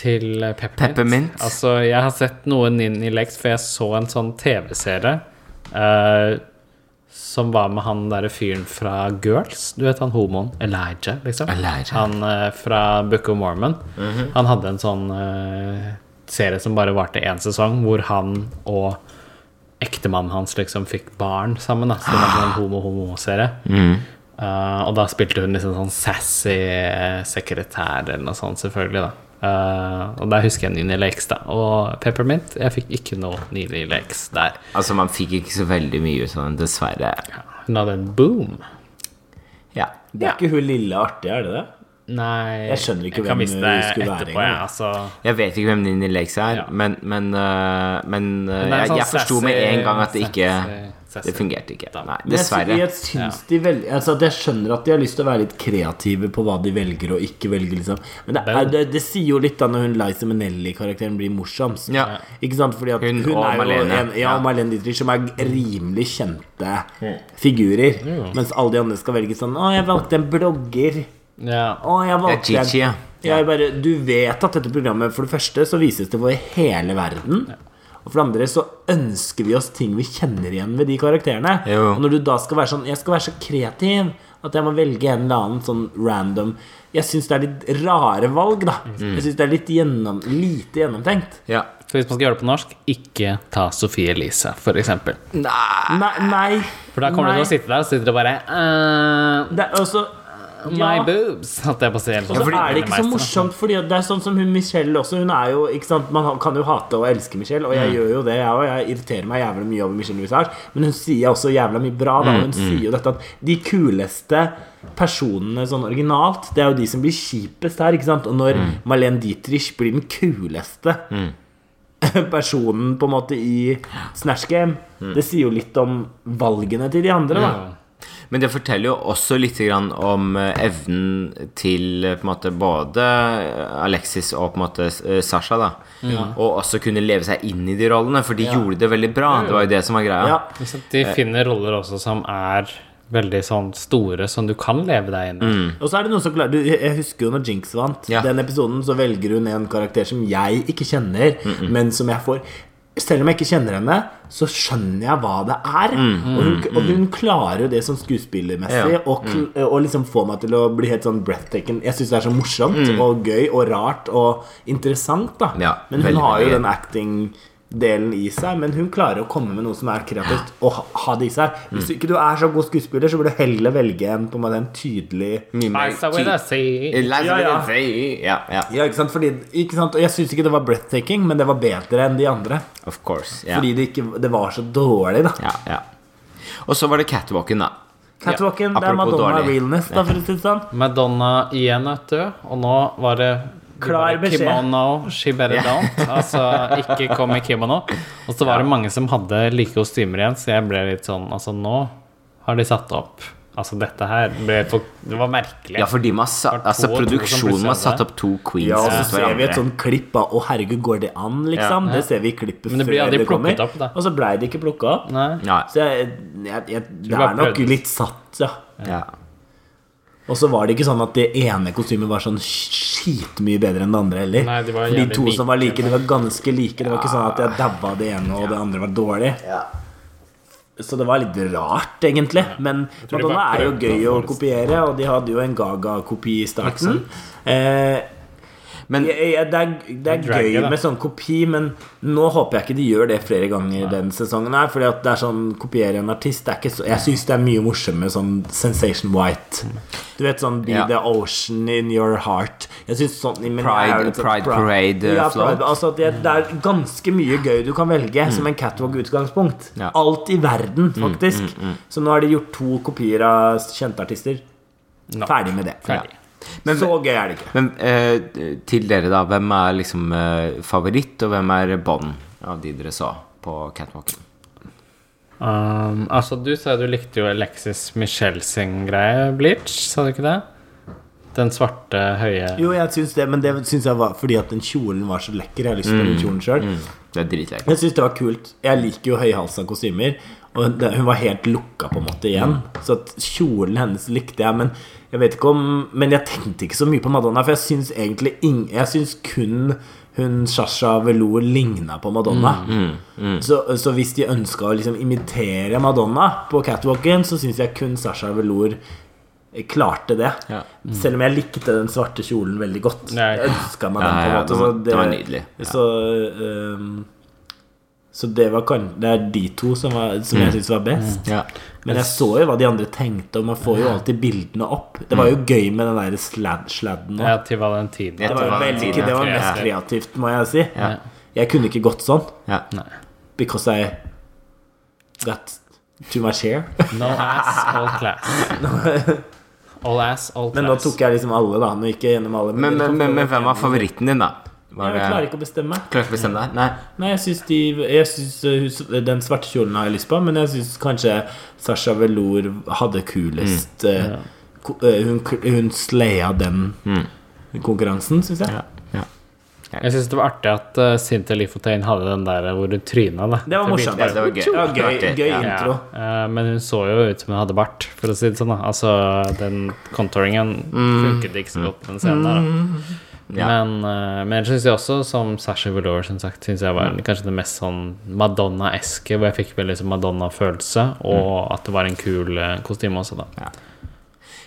[SPEAKER 2] Til eh, Peppermint.
[SPEAKER 1] Peppermint.
[SPEAKER 2] Altså, jeg har sett noe Nini Lakes, for jeg så en sånn TV-serie eh, som var med han derre fyren fra Girls. Du vet han homoen Elijah, liksom.
[SPEAKER 1] Elijah.
[SPEAKER 2] Han eh, fra Book of Mormon. Han hadde en sånn eh, serie som bare varte én sesong, hvor han og ektemannen hans liksom fikk barn sammen. Da. Så det var en sånn homo-homo-serie. Eh, og da spilte hun liksom sånn sassy eh, sekretær eller noe sånt, selvfølgelig, da. Eh, og der husker jeg Nini Lakes, da. Og Peppermint. Jeg fikk ikke noe Nini Lakes der.
[SPEAKER 1] Altså, man fikk ikke så veldig mye ut av den, dessverre.
[SPEAKER 2] Hun hadde en boom.
[SPEAKER 1] Ja.
[SPEAKER 3] Det er ikke hun lille artige, er det det?
[SPEAKER 2] Nei
[SPEAKER 3] Jeg skjønner ikke hvem
[SPEAKER 2] miste
[SPEAKER 3] hun skulle være
[SPEAKER 2] etterpå,
[SPEAKER 3] engang.
[SPEAKER 2] jeg, altså.
[SPEAKER 1] Jeg vet ikke hvem Nini Lakes er,
[SPEAKER 2] Ja.
[SPEAKER 1] men, men, øh, men øh,
[SPEAKER 2] Hun er en
[SPEAKER 1] jeg,
[SPEAKER 2] sånn
[SPEAKER 1] jeg forsto med
[SPEAKER 2] sassy-
[SPEAKER 1] en gang at det ikke
[SPEAKER 2] sassy- sassy
[SPEAKER 1] Det fungerte ikke.
[SPEAKER 2] dame.
[SPEAKER 1] Nei,
[SPEAKER 3] Men jeg sy-
[SPEAKER 1] dessverre.
[SPEAKER 3] Jeg, syns de vel- altså at jeg skjønner at de har lyst til å være litt kreative på hva de velger og ikke velger. Liksom. Men det, er, det, det sier jo litt da når hun Liza Minnelli-karakteren blir morsomst.
[SPEAKER 1] Ja.
[SPEAKER 3] Ikke sant? Fordi at
[SPEAKER 1] Hun
[SPEAKER 3] hun,
[SPEAKER 1] og
[SPEAKER 3] er jo
[SPEAKER 1] Marlene.
[SPEAKER 3] En, ja,
[SPEAKER 1] Ja.
[SPEAKER 3] og Marlene Dietrich, som er rimelig kjente figurer. Mens alle de andre skal velge sånn Å, jeg valgte en blogger.
[SPEAKER 2] Ja.
[SPEAKER 3] Å, jeg valgte
[SPEAKER 1] Det er Gigi, ja.
[SPEAKER 3] Jeg bare, du vet at dette programmet For det første så vises det for hele verden Og for det andre så ønsker vi oss ting vi kjenner igjen ved de karakterene
[SPEAKER 1] Jo.
[SPEAKER 3] Og når du da skal være sånn Jeg skal være så kreativ At jeg må velge en eller annen sånn random Jeg synes det er litt rare valg da
[SPEAKER 2] Mm.
[SPEAKER 3] Jeg synes det er litt gjennom, lite gjennomtenkt
[SPEAKER 1] Ja.
[SPEAKER 2] For hvis man skal gjøre det på norsk, ikke ta Sophie Elise, for eksempel.
[SPEAKER 1] Nei.
[SPEAKER 3] Nei, nei
[SPEAKER 2] For da kommer
[SPEAKER 3] nei.
[SPEAKER 2] du til å sitte der og sitter og bare eh,
[SPEAKER 3] Det er også
[SPEAKER 2] My
[SPEAKER 3] ja.
[SPEAKER 2] boobs! At jeg bare sier helt
[SPEAKER 3] Og så
[SPEAKER 2] sånn.
[SPEAKER 3] er det ikke så
[SPEAKER 2] Meister.
[SPEAKER 3] morsomt, fordi at det er sånn som hun Michelle også. Hun er jo, ikke sant, Man kan jo hate og elske Michelle, og jeg gjør jo det, jeg òg. Jeg irriterer meg jævlig mye over Michelle Visage, men hun sier også jævla mye bra. da, og Hun sier jo dette at de kuleste personene sånn originalt, det er jo de som blir kjipest her. ikke sant, Og når Marlene Dietrich blir den kuleste personen på en måte i Snatch Game, det sier jo litt om valgene til de andre, da.
[SPEAKER 1] Men det forteller jo også litt grann om eh, evnen til eh, på en måte, både eh, Alexis og på en måte eh, Sasha. Da. Og også kunne leve seg inn i de rollene, for de gjorde det veldig bra. Det var jo det som var greia.
[SPEAKER 3] Ja.
[SPEAKER 2] Ikke sant? De finner roller også som er veldig sånn store, som du kan leve deg inn i.
[SPEAKER 3] Og så er det noen som klarer du, Jeg husker jo når Jinx vant.
[SPEAKER 1] Ja.
[SPEAKER 3] Den episoden så velger hun en karakter som jeg ikke kjenner, men som jeg får Selv om jeg ikke kjenner henne, så skjønner jeg hva det er. og, hun, og hun klarer jo det sånn skuespillermessig,
[SPEAKER 1] Mm. Ja. Mm.
[SPEAKER 3] og, kl- og liksom får meg til å bli helt sånn breathtaking. Jeg syns det er så morsomt og gøy og rart og interessant, da.
[SPEAKER 1] Mm. Ja,
[SPEAKER 3] men hun
[SPEAKER 1] veldig,
[SPEAKER 3] har jo
[SPEAKER 1] veldig.
[SPEAKER 3] den acting-delen i seg, men hun klarer å komme med noe som er kreativt, og ha, ha det i seg. Hvis
[SPEAKER 1] Mm.
[SPEAKER 3] du ikke du er så god skuespiller, så burde du heller velge en, på en, måte en tydelig
[SPEAKER 1] Mye mer
[SPEAKER 2] Liza with
[SPEAKER 1] ti-
[SPEAKER 2] a C.
[SPEAKER 1] Liza
[SPEAKER 3] Ja, ja.
[SPEAKER 1] with a C. Ja, ja.
[SPEAKER 3] Ja, ikke sant? Fordi, ikke sant? Og jeg syns ikke det var breathtaking, men det var bedre enn de andre.
[SPEAKER 1] Of course. Ja.
[SPEAKER 3] Fordi det, ikke, det var så dårlig, da.
[SPEAKER 1] Ja, ja. Og så var det catwalken, da.
[SPEAKER 3] Catwalken, det er
[SPEAKER 1] Apropos
[SPEAKER 3] Madonna
[SPEAKER 1] dårlig.
[SPEAKER 3] realness, da, for å si det sånn.
[SPEAKER 2] Madonna igjen, vet du. Og nå var det de
[SPEAKER 3] Klar
[SPEAKER 2] bare,
[SPEAKER 3] beskjed.
[SPEAKER 2] Kimono, she better don't. Altså, ikke kom i kimono. Og så var det mange som hadde like kostymer igjen, så jeg ble litt sånn Altså, nå har de satt opp Altså, dette her ble for, Det var merkelig.
[SPEAKER 1] Ja, fordi man sa,
[SPEAKER 2] Det var to
[SPEAKER 1] altså
[SPEAKER 2] og to som
[SPEAKER 1] Produksjonen
[SPEAKER 2] plutselig
[SPEAKER 1] har satt opp to queens.
[SPEAKER 3] Ja, og så
[SPEAKER 1] mot
[SPEAKER 3] ser vi
[SPEAKER 1] altså, hverandre.
[SPEAKER 3] et sånt klipp av 'Å, herregud, går det an?' liksom. Det ser vi i klippet
[SPEAKER 2] Men det blir aldri plukket opp, da.
[SPEAKER 3] Og så blei det ikke plukka opp.
[SPEAKER 2] Nei.
[SPEAKER 1] Nei.
[SPEAKER 3] Så jeg, jeg, jeg, det
[SPEAKER 2] bare
[SPEAKER 3] er nok
[SPEAKER 2] prøvde.
[SPEAKER 3] litt satt, ja.
[SPEAKER 1] Ja.
[SPEAKER 3] Og så var det ikke sånn at det ene kostymet var sånn skitmye bedre enn det andre heller.
[SPEAKER 2] Nei, det var
[SPEAKER 3] For de
[SPEAKER 2] jævlig
[SPEAKER 3] to som var
[SPEAKER 2] like.
[SPEAKER 3] like, de var ganske like. Det var ikke sånn at jeg dabba det ene, og det andre var dårlig. Så det var litt rart, egentlig. Men
[SPEAKER 2] tror de
[SPEAKER 3] Madonna
[SPEAKER 2] bare
[SPEAKER 3] er jo
[SPEAKER 2] prøvde
[SPEAKER 3] gøy å
[SPEAKER 2] å
[SPEAKER 3] kopiere, og de hadde jo en Gaga-kopi i starten. Eh,
[SPEAKER 1] Men
[SPEAKER 3] jeg, jeg, det er, det er
[SPEAKER 2] dragger,
[SPEAKER 3] gøy
[SPEAKER 2] da.
[SPEAKER 3] med sånn kopi, men nå håper jeg ikke de gjør det flere ganger den sesongen her. Fordi at det er sånn kopiere en artist det er ikke så, Jeg syns det er mye morsommere sånn Sensation White. Du vet sånn Be
[SPEAKER 1] Mm. Ja.
[SPEAKER 3] the ocean in your heart. Jeg synes sånn men jeg
[SPEAKER 1] Pride-
[SPEAKER 3] er jo litt sånn-
[SPEAKER 1] Pride
[SPEAKER 3] Pri-
[SPEAKER 1] Parade, eh,
[SPEAKER 3] Ja,
[SPEAKER 1] float.
[SPEAKER 3] Pride, altså at det, det er ganske mye gøy du kan velge som en catwalk-utgangspunkt.
[SPEAKER 1] Mm. Ja. Mm,
[SPEAKER 3] Alt i verden, faktisk. Så nå har de gjort to kopier av kjente artister.
[SPEAKER 2] No.
[SPEAKER 3] Ferdig med det.
[SPEAKER 2] Ferdig.
[SPEAKER 1] Men-
[SPEAKER 3] så gøy er det ikke.
[SPEAKER 1] Men eh, til dere, da. Hvem er liksom eh, favoritt, og hvem er bånd av de dere så på catwalken?
[SPEAKER 2] Um, altså, du sa du likte jo Alexis Michelle sin greie, Bleach, sa du ikke det? Den svarte, høye
[SPEAKER 3] Jo, jeg syns det, men det syns jeg var fordi at den kjolen var så lekker. Jeg har lyst på den kjolen selv
[SPEAKER 1] Det er dritlekkert.
[SPEAKER 3] Jeg syns det var kult. Jeg liker jo høyhalsa kostymer. Og det, hun var helt lukka på en måte igjen. Så at kjolen hennes likte jeg, men jeg vet ikke om Men jeg tenkte ikke så mye på Madonna, for jeg syns egentlig ing, Jeg syns kun hun Sasha Velour ligna på Madonna. Så, så hvis de ønska å liksom imitere Madonna på catwalken, så syns jeg kun Sasha Velour klarte det.
[SPEAKER 1] Ja.
[SPEAKER 3] Selv om jeg likte den svarte kjolen veldig godt.
[SPEAKER 2] Nei.
[SPEAKER 3] Jeg ønska meg den.
[SPEAKER 1] Ja,
[SPEAKER 3] på en
[SPEAKER 1] ja,
[SPEAKER 3] måte,
[SPEAKER 1] det
[SPEAKER 3] så
[SPEAKER 1] var- det var nydelig. Ja.
[SPEAKER 3] Så, ehm, så det var kan, Det er de to som, var, som
[SPEAKER 1] Mm.
[SPEAKER 3] jeg syns var best.
[SPEAKER 1] Ja.
[SPEAKER 3] Men jeg så jo hva de andre tenkte, og man får jo alltid bildene opp. Det
[SPEAKER 1] Mm.
[SPEAKER 3] var jo gøy med den der slad, sladden òg.
[SPEAKER 2] ja, til Valentina.
[SPEAKER 1] Ja,
[SPEAKER 3] Det var jo veldig det var mest
[SPEAKER 2] Ja.
[SPEAKER 3] kreativt, må jeg si.
[SPEAKER 1] Ja.
[SPEAKER 3] Jeg kunne ikke gått sånn
[SPEAKER 1] Ja.
[SPEAKER 2] Nei.
[SPEAKER 3] because I got too much hair.
[SPEAKER 2] No ass, all class. All ass, all class.
[SPEAKER 3] Men nå tok jeg liksom alle, da. Nå gikk jeg gjennom alle.
[SPEAKER 1] Men, men, men, men hvem var
[SPEAKER 3] jeg
[SPEAKER 1] favoritten din, da? Var
[SPEAKER 3] klarer
[SPEAKER 1] det
[SPEAKER 3] ikke å bestemme.
[SPEAKER 1] Klarer ikke å bestemme deg? Nei.
[SPEAKER 3] Nei, jeg syns de jeg synes, uh, Den svarte kjolen har jeg lyst på, men jeg syns kanskje Sasha Velour hadde
[SPEAKER 1] Mm.
[SPEAKER 3] kulest uh, ko- uh, Hun, hun slaya den konkurransen, syns jeg.
[SPEAKER 1] Mm. Ja.
[SPEAKER 2] Jeg syns det var artig at uh, Cynthia Lifotein hadde den der eh, hvor hun tryna. Da.
[SPEAKER 3] Det var morsomt.
[SPEAKER 1] Ja, det var gøy.
[SPEAKER 3] Det var gøy,
[SPEAKER 1] Artig,
[SPEAKER 3] gøy
[SPEAKER 1] ja.
[SPEAKER 3] intro.
[SPEAKER 2] Ja, eh, men hun så jo ut som hun hadde bart, for å si det sånn. Da. Altså, den contouringen
[SPEAKER 3] Mm.
[SPEAKER 2] funket ikke så godt på den scenen der. Da.
[SPEAKER 1] Ja.
[SPEAKER 2] Men, eh, men ellers syns jeg også, som Sasha Velour, som sagt, synes jeg var kanskje det mest sånn Madonna-eske, hvor jeg fikk veldig sånn Madonna-følelse, og
[SPEAKER 3] Mm.
[SPEAKER 2] at det var en kul eh, kostyme også, da.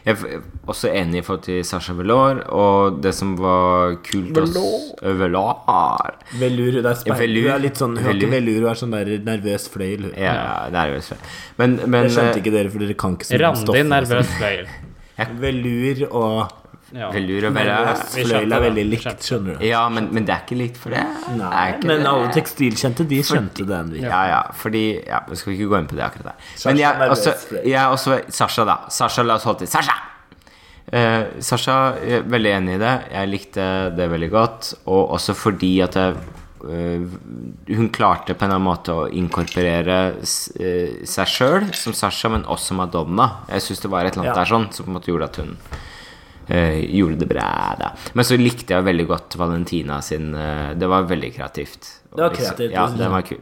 [SPEAKER 1] Jeg er også enig i forhold til Sasha Velour, og det som var kult også- Velour.
[SPEAKER 3] Velour, det er speil.
[SPEAKER 1] Velour.
[SPEAKER 3] Hun er litt sånn Hun har
[SPEAKER 1] Velour.
[SPEAKER 3] ikke velur, hun er sånn der nervøs fløyel.
[SPEAKER 1] Ja, ja, det er jo så. Men, men eh,
[SPEAKER 3] Det skjønte ikke dere, for dere kan ikke så mye om
[SPEAKER 2] Randi,
[SPEAKER 3] stoffene.
[SPEAKER 2] nervøs fløyel.
[SPEAKER 3] Velur og
[SPEAKER 2] Ja.
[SPEAKER 1] Velour og
[SPEAKER 3] nervøs
[SPEAKER 1] Velour
[SPEAKER 2] vi skjønte
[SPEAKER 3] fløyel er
[SPEAKER 2] det.
[SPEAKER 3] veldig
[SPEAKER 2] Vi
[SPEAKER 3] likt, skjønner du.
[SPEAKER 1] Ja, men, men det er ikke likt for det. det
[SPEAKER 3] Nei,
[SPEAKER 1] er ikke
[SPEAKER 3] men
[SPEAKER 1] det.
[SPEAKER 3] alle tekstilkjente, de skjønte den. vi.
[SPEAKER 1] Ja, ja, fordi ja, men Skal vi ikke gå inn på det akkurat der. Men
[SPEAKER 3] Sasha
[SPEAKER 1] jeg,
[SPEAKER 3] er
[SPEAKER 1] også,
[SPEAKER 3] nervøs.
[SPEAKER 1] jeg er også Sasha, da. Sasha, la oss holde til Sasha! Eh, Sasha, jeg er veldig enig i det. Jeg likte det veldig godt. Og også fordi at jeg, eh, hun klarte på en eller annen måte å inkorporere s- eh, seg sjøl som Sasha, men også Madonna. Jeg syns det var et eller annet
[SPEAKER 3] Ja.
[SPEAKER 1] der sånn som på en måte gjorde at hun eh, gjorde det bra. Da. Men så likte jeg veldig godt Valentina sin eh, Det var veldig kreativt.
[SPEAKER 3] Det var kreativt,
[SPEAKER 1] Ja,
[SPEAKER 3] liksom.
[SPEAKER 1] den var kul.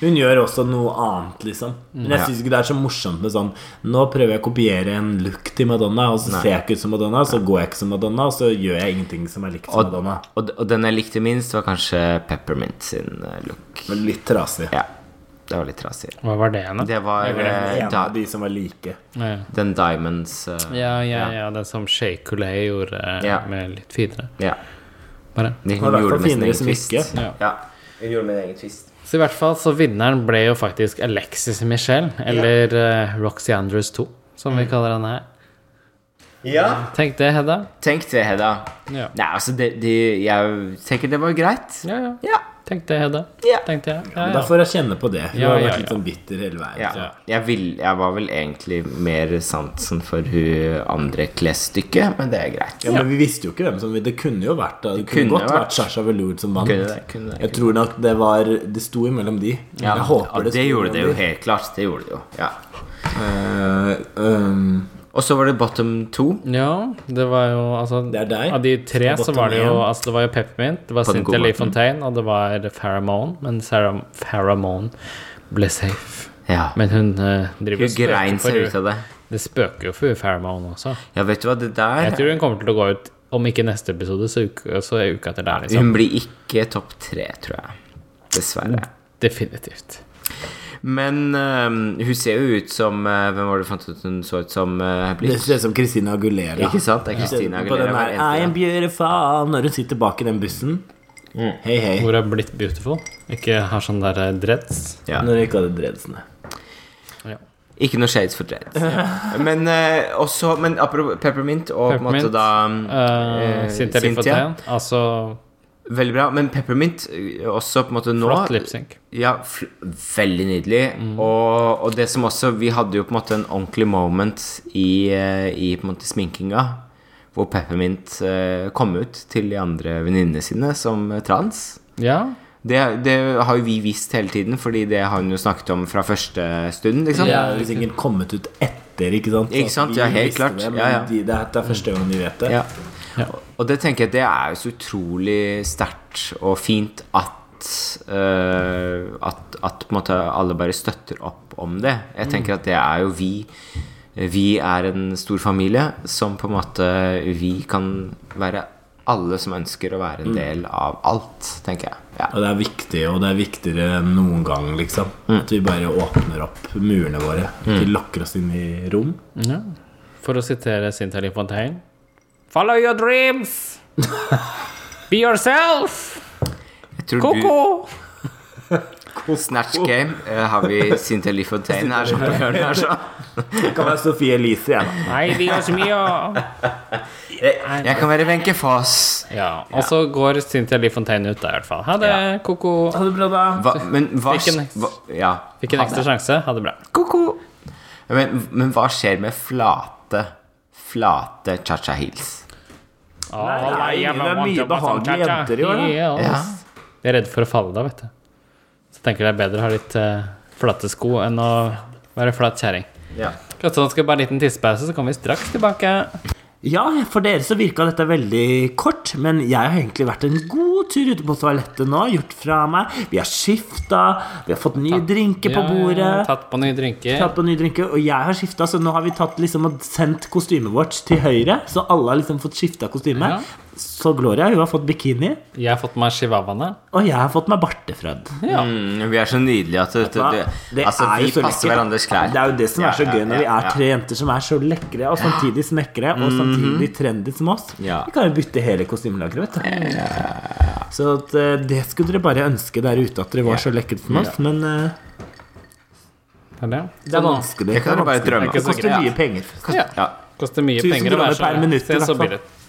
[SPEAKER 3] Hun gjør også noe annet, liksom. Men jeg
[SPEAKER 1] Ja.
[SPEAKER 3] syns ikke det er så morsomt med sånn Nå prøver jeg å kopiere en look til Madonna, og så ser jeg ikke ut som Madonna, så går jeg ikke som Madonna, og så gjør jeg ingenting som er likt som Madonna.
[SPEAKER 1] Og, og den jeg likte minst, var kanskje Peppermint sin eh, look.
[SPEAKER 3] Men litt trasig.
[SPEAKER 1] Ja, det var litt trasig.
[SPEAKER 2] Hva var det, da?
[SPEAKER 1] Det var eh,
[SPEAKER 3] En
[SPEAKER 1] da,
[SPEAKER 3] av de som var like.
[SPEAKER 2] Ja.
[SPEAKER 1] den Diamonds eh,
[SPEAKER 2] Ja, ja, ja, det som Shay Coulee gjorde eh,
[SPEAKER 1] Ja.
[SPEAKER 2] med litt finere.
[SPEAKER 1] Ja.
[SPEAKER 2] Bare.
[SPEAKER 1] De,
[SPEAKER 3] var
[SPEAKER 1] hun
[SPEAKER 3] i hvert
[SPEAKER 1] gjorde
[SPEAKER 3] fall
[SPEAKER 1] med sin
[SPEAKER 3] finere
[SPEAKER 1] egen
[SPEAKER 3] som
[SPEAKER 1] twist.
[SPEAKER 3] ikke.
[SPEAKER 2] Ja.
[SPEAKER 1] Hun gjorde med en egen twist.
[SPEAKER 2] Så i hvert fall så vinneren ble jo faktisk Alexis Michelle, eller eh, Roxy Andrews 2, som
[SPEAKER 1] Mm.
[SPEAKER 2] vi kaller henne her.
[SPEAKER 1] Ja.
[SPEAKER 2] Tenk det, Hedda.
[SPEAKER 1] Tenk det, Hedda.
[SPEAKER 2] Ja.
[SPEAKER 1] Nei, altså, det, de, jeg tenker det var greit.
[SPEAKER 2] Ja, ja.
[SPEAKER 1] Ja.
[SPEAKER 2] Tenk det, Hedda.
[SPEAKER 1] Ja.
[SPEAKER 2] Tenkte jeg. Ja,
[SPEAKER 3] Men da
[SPEAKER 2] ja.
[SPEAKER 3] får jeg kjenne på det. Hun
[SPEAKER 2] Ja,
[SPEAKER 3] har
[SPEAKER 2] ja,
[SPEAKER 3] vært litt
[SPEAKER 2] ja.
[SPEAKER 3] sånn bitter hele veien.
[SPEAKER 1] Ja.
[SPEAKER 3] så.
[SPEAKER 1] Jeg, vil, jeg var vel egentlig mer sansen for hun andre klesstykket, men det er greit.
[SPEAKER 3] Ja, men vi visste jo ikke hvem som Det kunne jo vært Det kunne,
[SPEAKER 1] kunne
[SPEAKER 3] godt
[SPEAKER 1] vært.
[SPEAKER 3] vært Sasha Velour som vant.
[SPEAKER 1] Kunne det, kunne det,
[SPEAKER 3] Jeg tror nok det var Det sto imellom de.
[SPEAKER 1] Ja,
[SPEAKER 3] jeg håper
[SPEAKER 1] det,
[SPEAKER 3] sto
[SPEAKER 1] gjorde det jo
[SPEAKER 3] imellom de.
[SPEAKER 1] helt klart. Det gjorde det jo. Ja.
[SPEAKER 3] Eh, ehm,
[SPEAKER 1] Og så var det bottom two.
[SPEAKER 2] Ja, det var jo altså
[SPEAKER 3] Det er deg.
[SPEAKER 2] Av de tre
[SPEAKER 3] Og
[SPEAKER 2] så var det jo
[SPEAKER 3] bottom én.
[SPEAKER 2] altså, Det var jo Peppermint, det var
[SPEAKER 1] På den
[SPEAKER 2] Cynthia
[SPEAKER 1] gode
[SPEAKER 2] Lee Fontaine, og det var Pharamone. Men Sarah Pharamone ble safe.
[SPEAKER 1] Ja.
[SPEAKER 2] Men hun eh, driver
[SPEAKER 1] Hun
[SPEAKER 2] og spøker
[SPEAKER 1] grein
[SPEAKER 2] for
[SPEAKER 1] seg
[SPEAKER 2] hun.
[SPEAKER 1] ut av det.
[SPEAKER 2] Det spøker jo for Fairmount også.
[SPEAKER 1] Ja, vet du hva, det der
[SPEAKER 2] Jeg tror hun kommer til å gå ut om ikke neste episode, så uka, så er uka etter der, liksom.
[SPEAKER 1] Hun blir ikke topp tre, tror jeg. Dessverre.
[SPEAKER 2] Definitivt.
[SPEAKER 1] Men eh, hun ser jo ut som eh, Hvem var det du fant ut hun så ut som? eh, Blitz?
[SPEAKER 3] Det ser ut som Christina Agulera.
[SPEAKER 1] Ikke sant? Det er Christina
[SPEAKER 3] På den
[SPEAKER 1] Aguilera. hver
[SPEAKER 3] der I am
[SPEAKER 1] eneste.
[SPEAKER 3] beautiful når hun sitter bak i den bussen.
[SPEAKER 1] Mm.
[SPEAKER 3] Hei, hei.
[SPEAKER 2] Hvor er blitt beautiful? Ikke har sånn der eh, dreads.
[SPEAKER 1] Ja.
[SPEAKER 3] Når hun ikke hadde dreadsene.
[SPEAKER 2] Ja.
[SPEAKER 1] Ikke noe shades for dreads. Men eh, også Men apropos Peppermint og på en måte
[SPEAKER 2] Peppermint.
[SPEAKER 1] da
[SPEAKER 2] Eh,
[SPEAKER 1] eh,
[SPEAKER 2] Cynthia Lipfotein. Altså
[SPEAKER 1] Veldig bra. Men Peppermint eh, også på en måte nå
[SPEAKER 2] flott lipsync.
[SPEAKER 1] Ja, fl veldig nydelig. Og, og det som også Vi hadde jo på en måte en ordentlig moment i, eh, i på en måte sminkinga. Hvor Peppermint eh, kom ut til de andre venninnene sine som eh, trans.
[SPEAKER 2] Ja.
[SPEAKER 1] Det, det har jo vi visst hele tiden, fordi det har hun jo snakket om fra første stund. Liksom.
[SPEAKER 3] Det er jo sikkert kommet ut etter, ikke sant?
[SPEAKER 1] Ikke sant?
[SPEAKER 3] At
[SPEAKER 1] Ja,
[SPEAKER 3] vi
[SPEAKER 1] helt
[SPEAKER 3] visste
[SPEAKER 1] klart.
[SPEAKER 3] Det, men
[SPEAKER 1] Ja, ja.
[SPEAKER 3] De, det, er, det er første gang de vet det.
[SPEAKER 1] Ja.
[SPEAKER 2] Ja.
[SPEAKER 1] Og det tenker jeg det er jo så utrolig sterkt og fint at, eh, at, at på en måte alle bare støtter opp om det. Jeg
[SPEAKER 2] Mm.
[SPEAKER 1] tenker at det er jo vi. Vi er en stor familie som på en måte Vi kan være alle som ønsker å være
[SPEAKER 2] Mm.
[SPEAKER 1] en del av alt, tenker jeg. Ja.
[SPEAKER 3] Og det er viktig, og det er viktigere enn noen gang, liksom.
[SPEAKER 1] Mm.
[SPEAKER 3] At vi bare åpner opp murene våre. De lokker oss inn i rom.
[SPEAKER 2] ja. For å sitere Cynthia Lipfotein Follow your dreams! Be yourself!
[SPEAKER 1] Jeg tror
[SPEAKER 2] Ko-ko!
[SPEAKER 1] du Snatch Game eh, har vi Cynthia Lifotein her som på hjørnet her, så.
[SPEAKER 3] Det kan være Sophie Elise, jeg, da.
[SPEAKER 2] Nei, Dios mio!
[SPEAKER 1] Jeg, jeg kan være Wenche Foss.
[SPEAKER 2] Ja, og så går Cynthia Lee Fontaine ut da, i hvert fall. Ha det, ko-ko.
[SPEAKER 3] Ha det bra, da.
[SPEAKER 1] Hva, men hva,
[SPEAKER 2] Fikk en-
[SPEAKER 1] hva Ja.
[SPEAKER 2] Fikk en
[SPEAKER 1] Ha det.
[SPEAKER 2] ekstra sjanse. Ha det bra.
[SPEAKER 1] Ko-ko. Men, men hva skjer med flate, flate cha-cha heels?
[SPEAKER 3] Nei, det er mye behagelige jenter i år, da.
[SPEAKER 2] Ja. De er redde for å falle da, vet du. Så tenker jeg det er bedre å ha litt eh, flate sko enn å være flat kjerring.
[SPEAKER 1] Ja.
[SPEAKER 2] Godt, så nå skal vi bare ha en liten tissepause, så kommer vi straks tilbake.
[SPEAKER 3] Ja, for dere så virka dette veldig kort, men jeg har egentlig vært en god tur ute på toalettet nå. Gjort fra meg. Vi har skifta, vi har fått nye drinker på
[SPEAKER 2] Ja,
[SPEAKER 3] bordet.
[SPEAKER 2] Tatt på nye drinker.
[SPEAKER 3] Tatt på nye drinker, og jeg har skifta, så nå har vi tatt liksom og sendt kostymet vårt til høyre. Så alle har liksom fått skifta kostyme.
[SPEAKER 2] Ja.
[SPEAKER 3] Så Gloria hun har fått bikini,
[SPEAKER 2] Jeg har fått meg chihuahuaene.
[SPEAKER 3] og jeg har fått meg bartefred.
[SPEAKER 2] Ja.
[SPEAKER 1] Mm, vi er så nydelige at det, det, det,
[SPEAKER 3] Det
[SPEAKER 1] Altså,
[SPEAKER 3] er jo
[SPEAKER 1] vi passer
[SPEAKER 3] så lekkert.
[SPEAKER 1] hverandres klær.
[SPEAKER 3] Det er jo det som er så
[SPEAKER 1] Ja,
[SPEAKER 3] gøy når vi
[SPEAKER 1] ja,
[SPEAKER 3] er
[SPEAKER 1] ja. Mhm.
[SPEAKER 3] tre jenter som er så lekre og samtidig smekre og samtidig trendy som oss.
[SPEAKER 1] Ja.
[SPEAKER 3] Vi kan jo bytte hele kostymelageret, vet du. Så at, eh, det skulle dere bare ønske der ute, at dere var så lekre som oss. Men eh, sånn
[SPEAKER 2] Det er det.
[SPEAKER 3] det er vanskelig.
[SPEAKER 1] Det kan
[SPEAKER 3] er
[SPEAKER 1] du bare
[SPEAKER 3] vanskelig.
[SPEAKER 1] drømme
[SPEAKER 2] Det
[SPEAKER 1] om.
[SPEAKER 3] Det
[SPEAKER 2] er ikke så
[SPEAKER 3] koster
[SPEAKER 2] gøy.
[SPEAKER 3] mye penger.
[SPEAKER 2] Ja.
[SPEAKER 1] Ja.
[SPEAKER 2] Koster mye
[SPEAKER 3] 1000
[SPEAKER 2] penger å
[SPEAKER 3] kroner
[SPEAKER 2] være så
[SPEAKER 3] per minutt, i
[SPEAKER 2] Se
[SPEAKER 3] hvert
[SPEAKER 2] så
[SPEAKER 3] fall.
[SPEAKER 2] billig ut.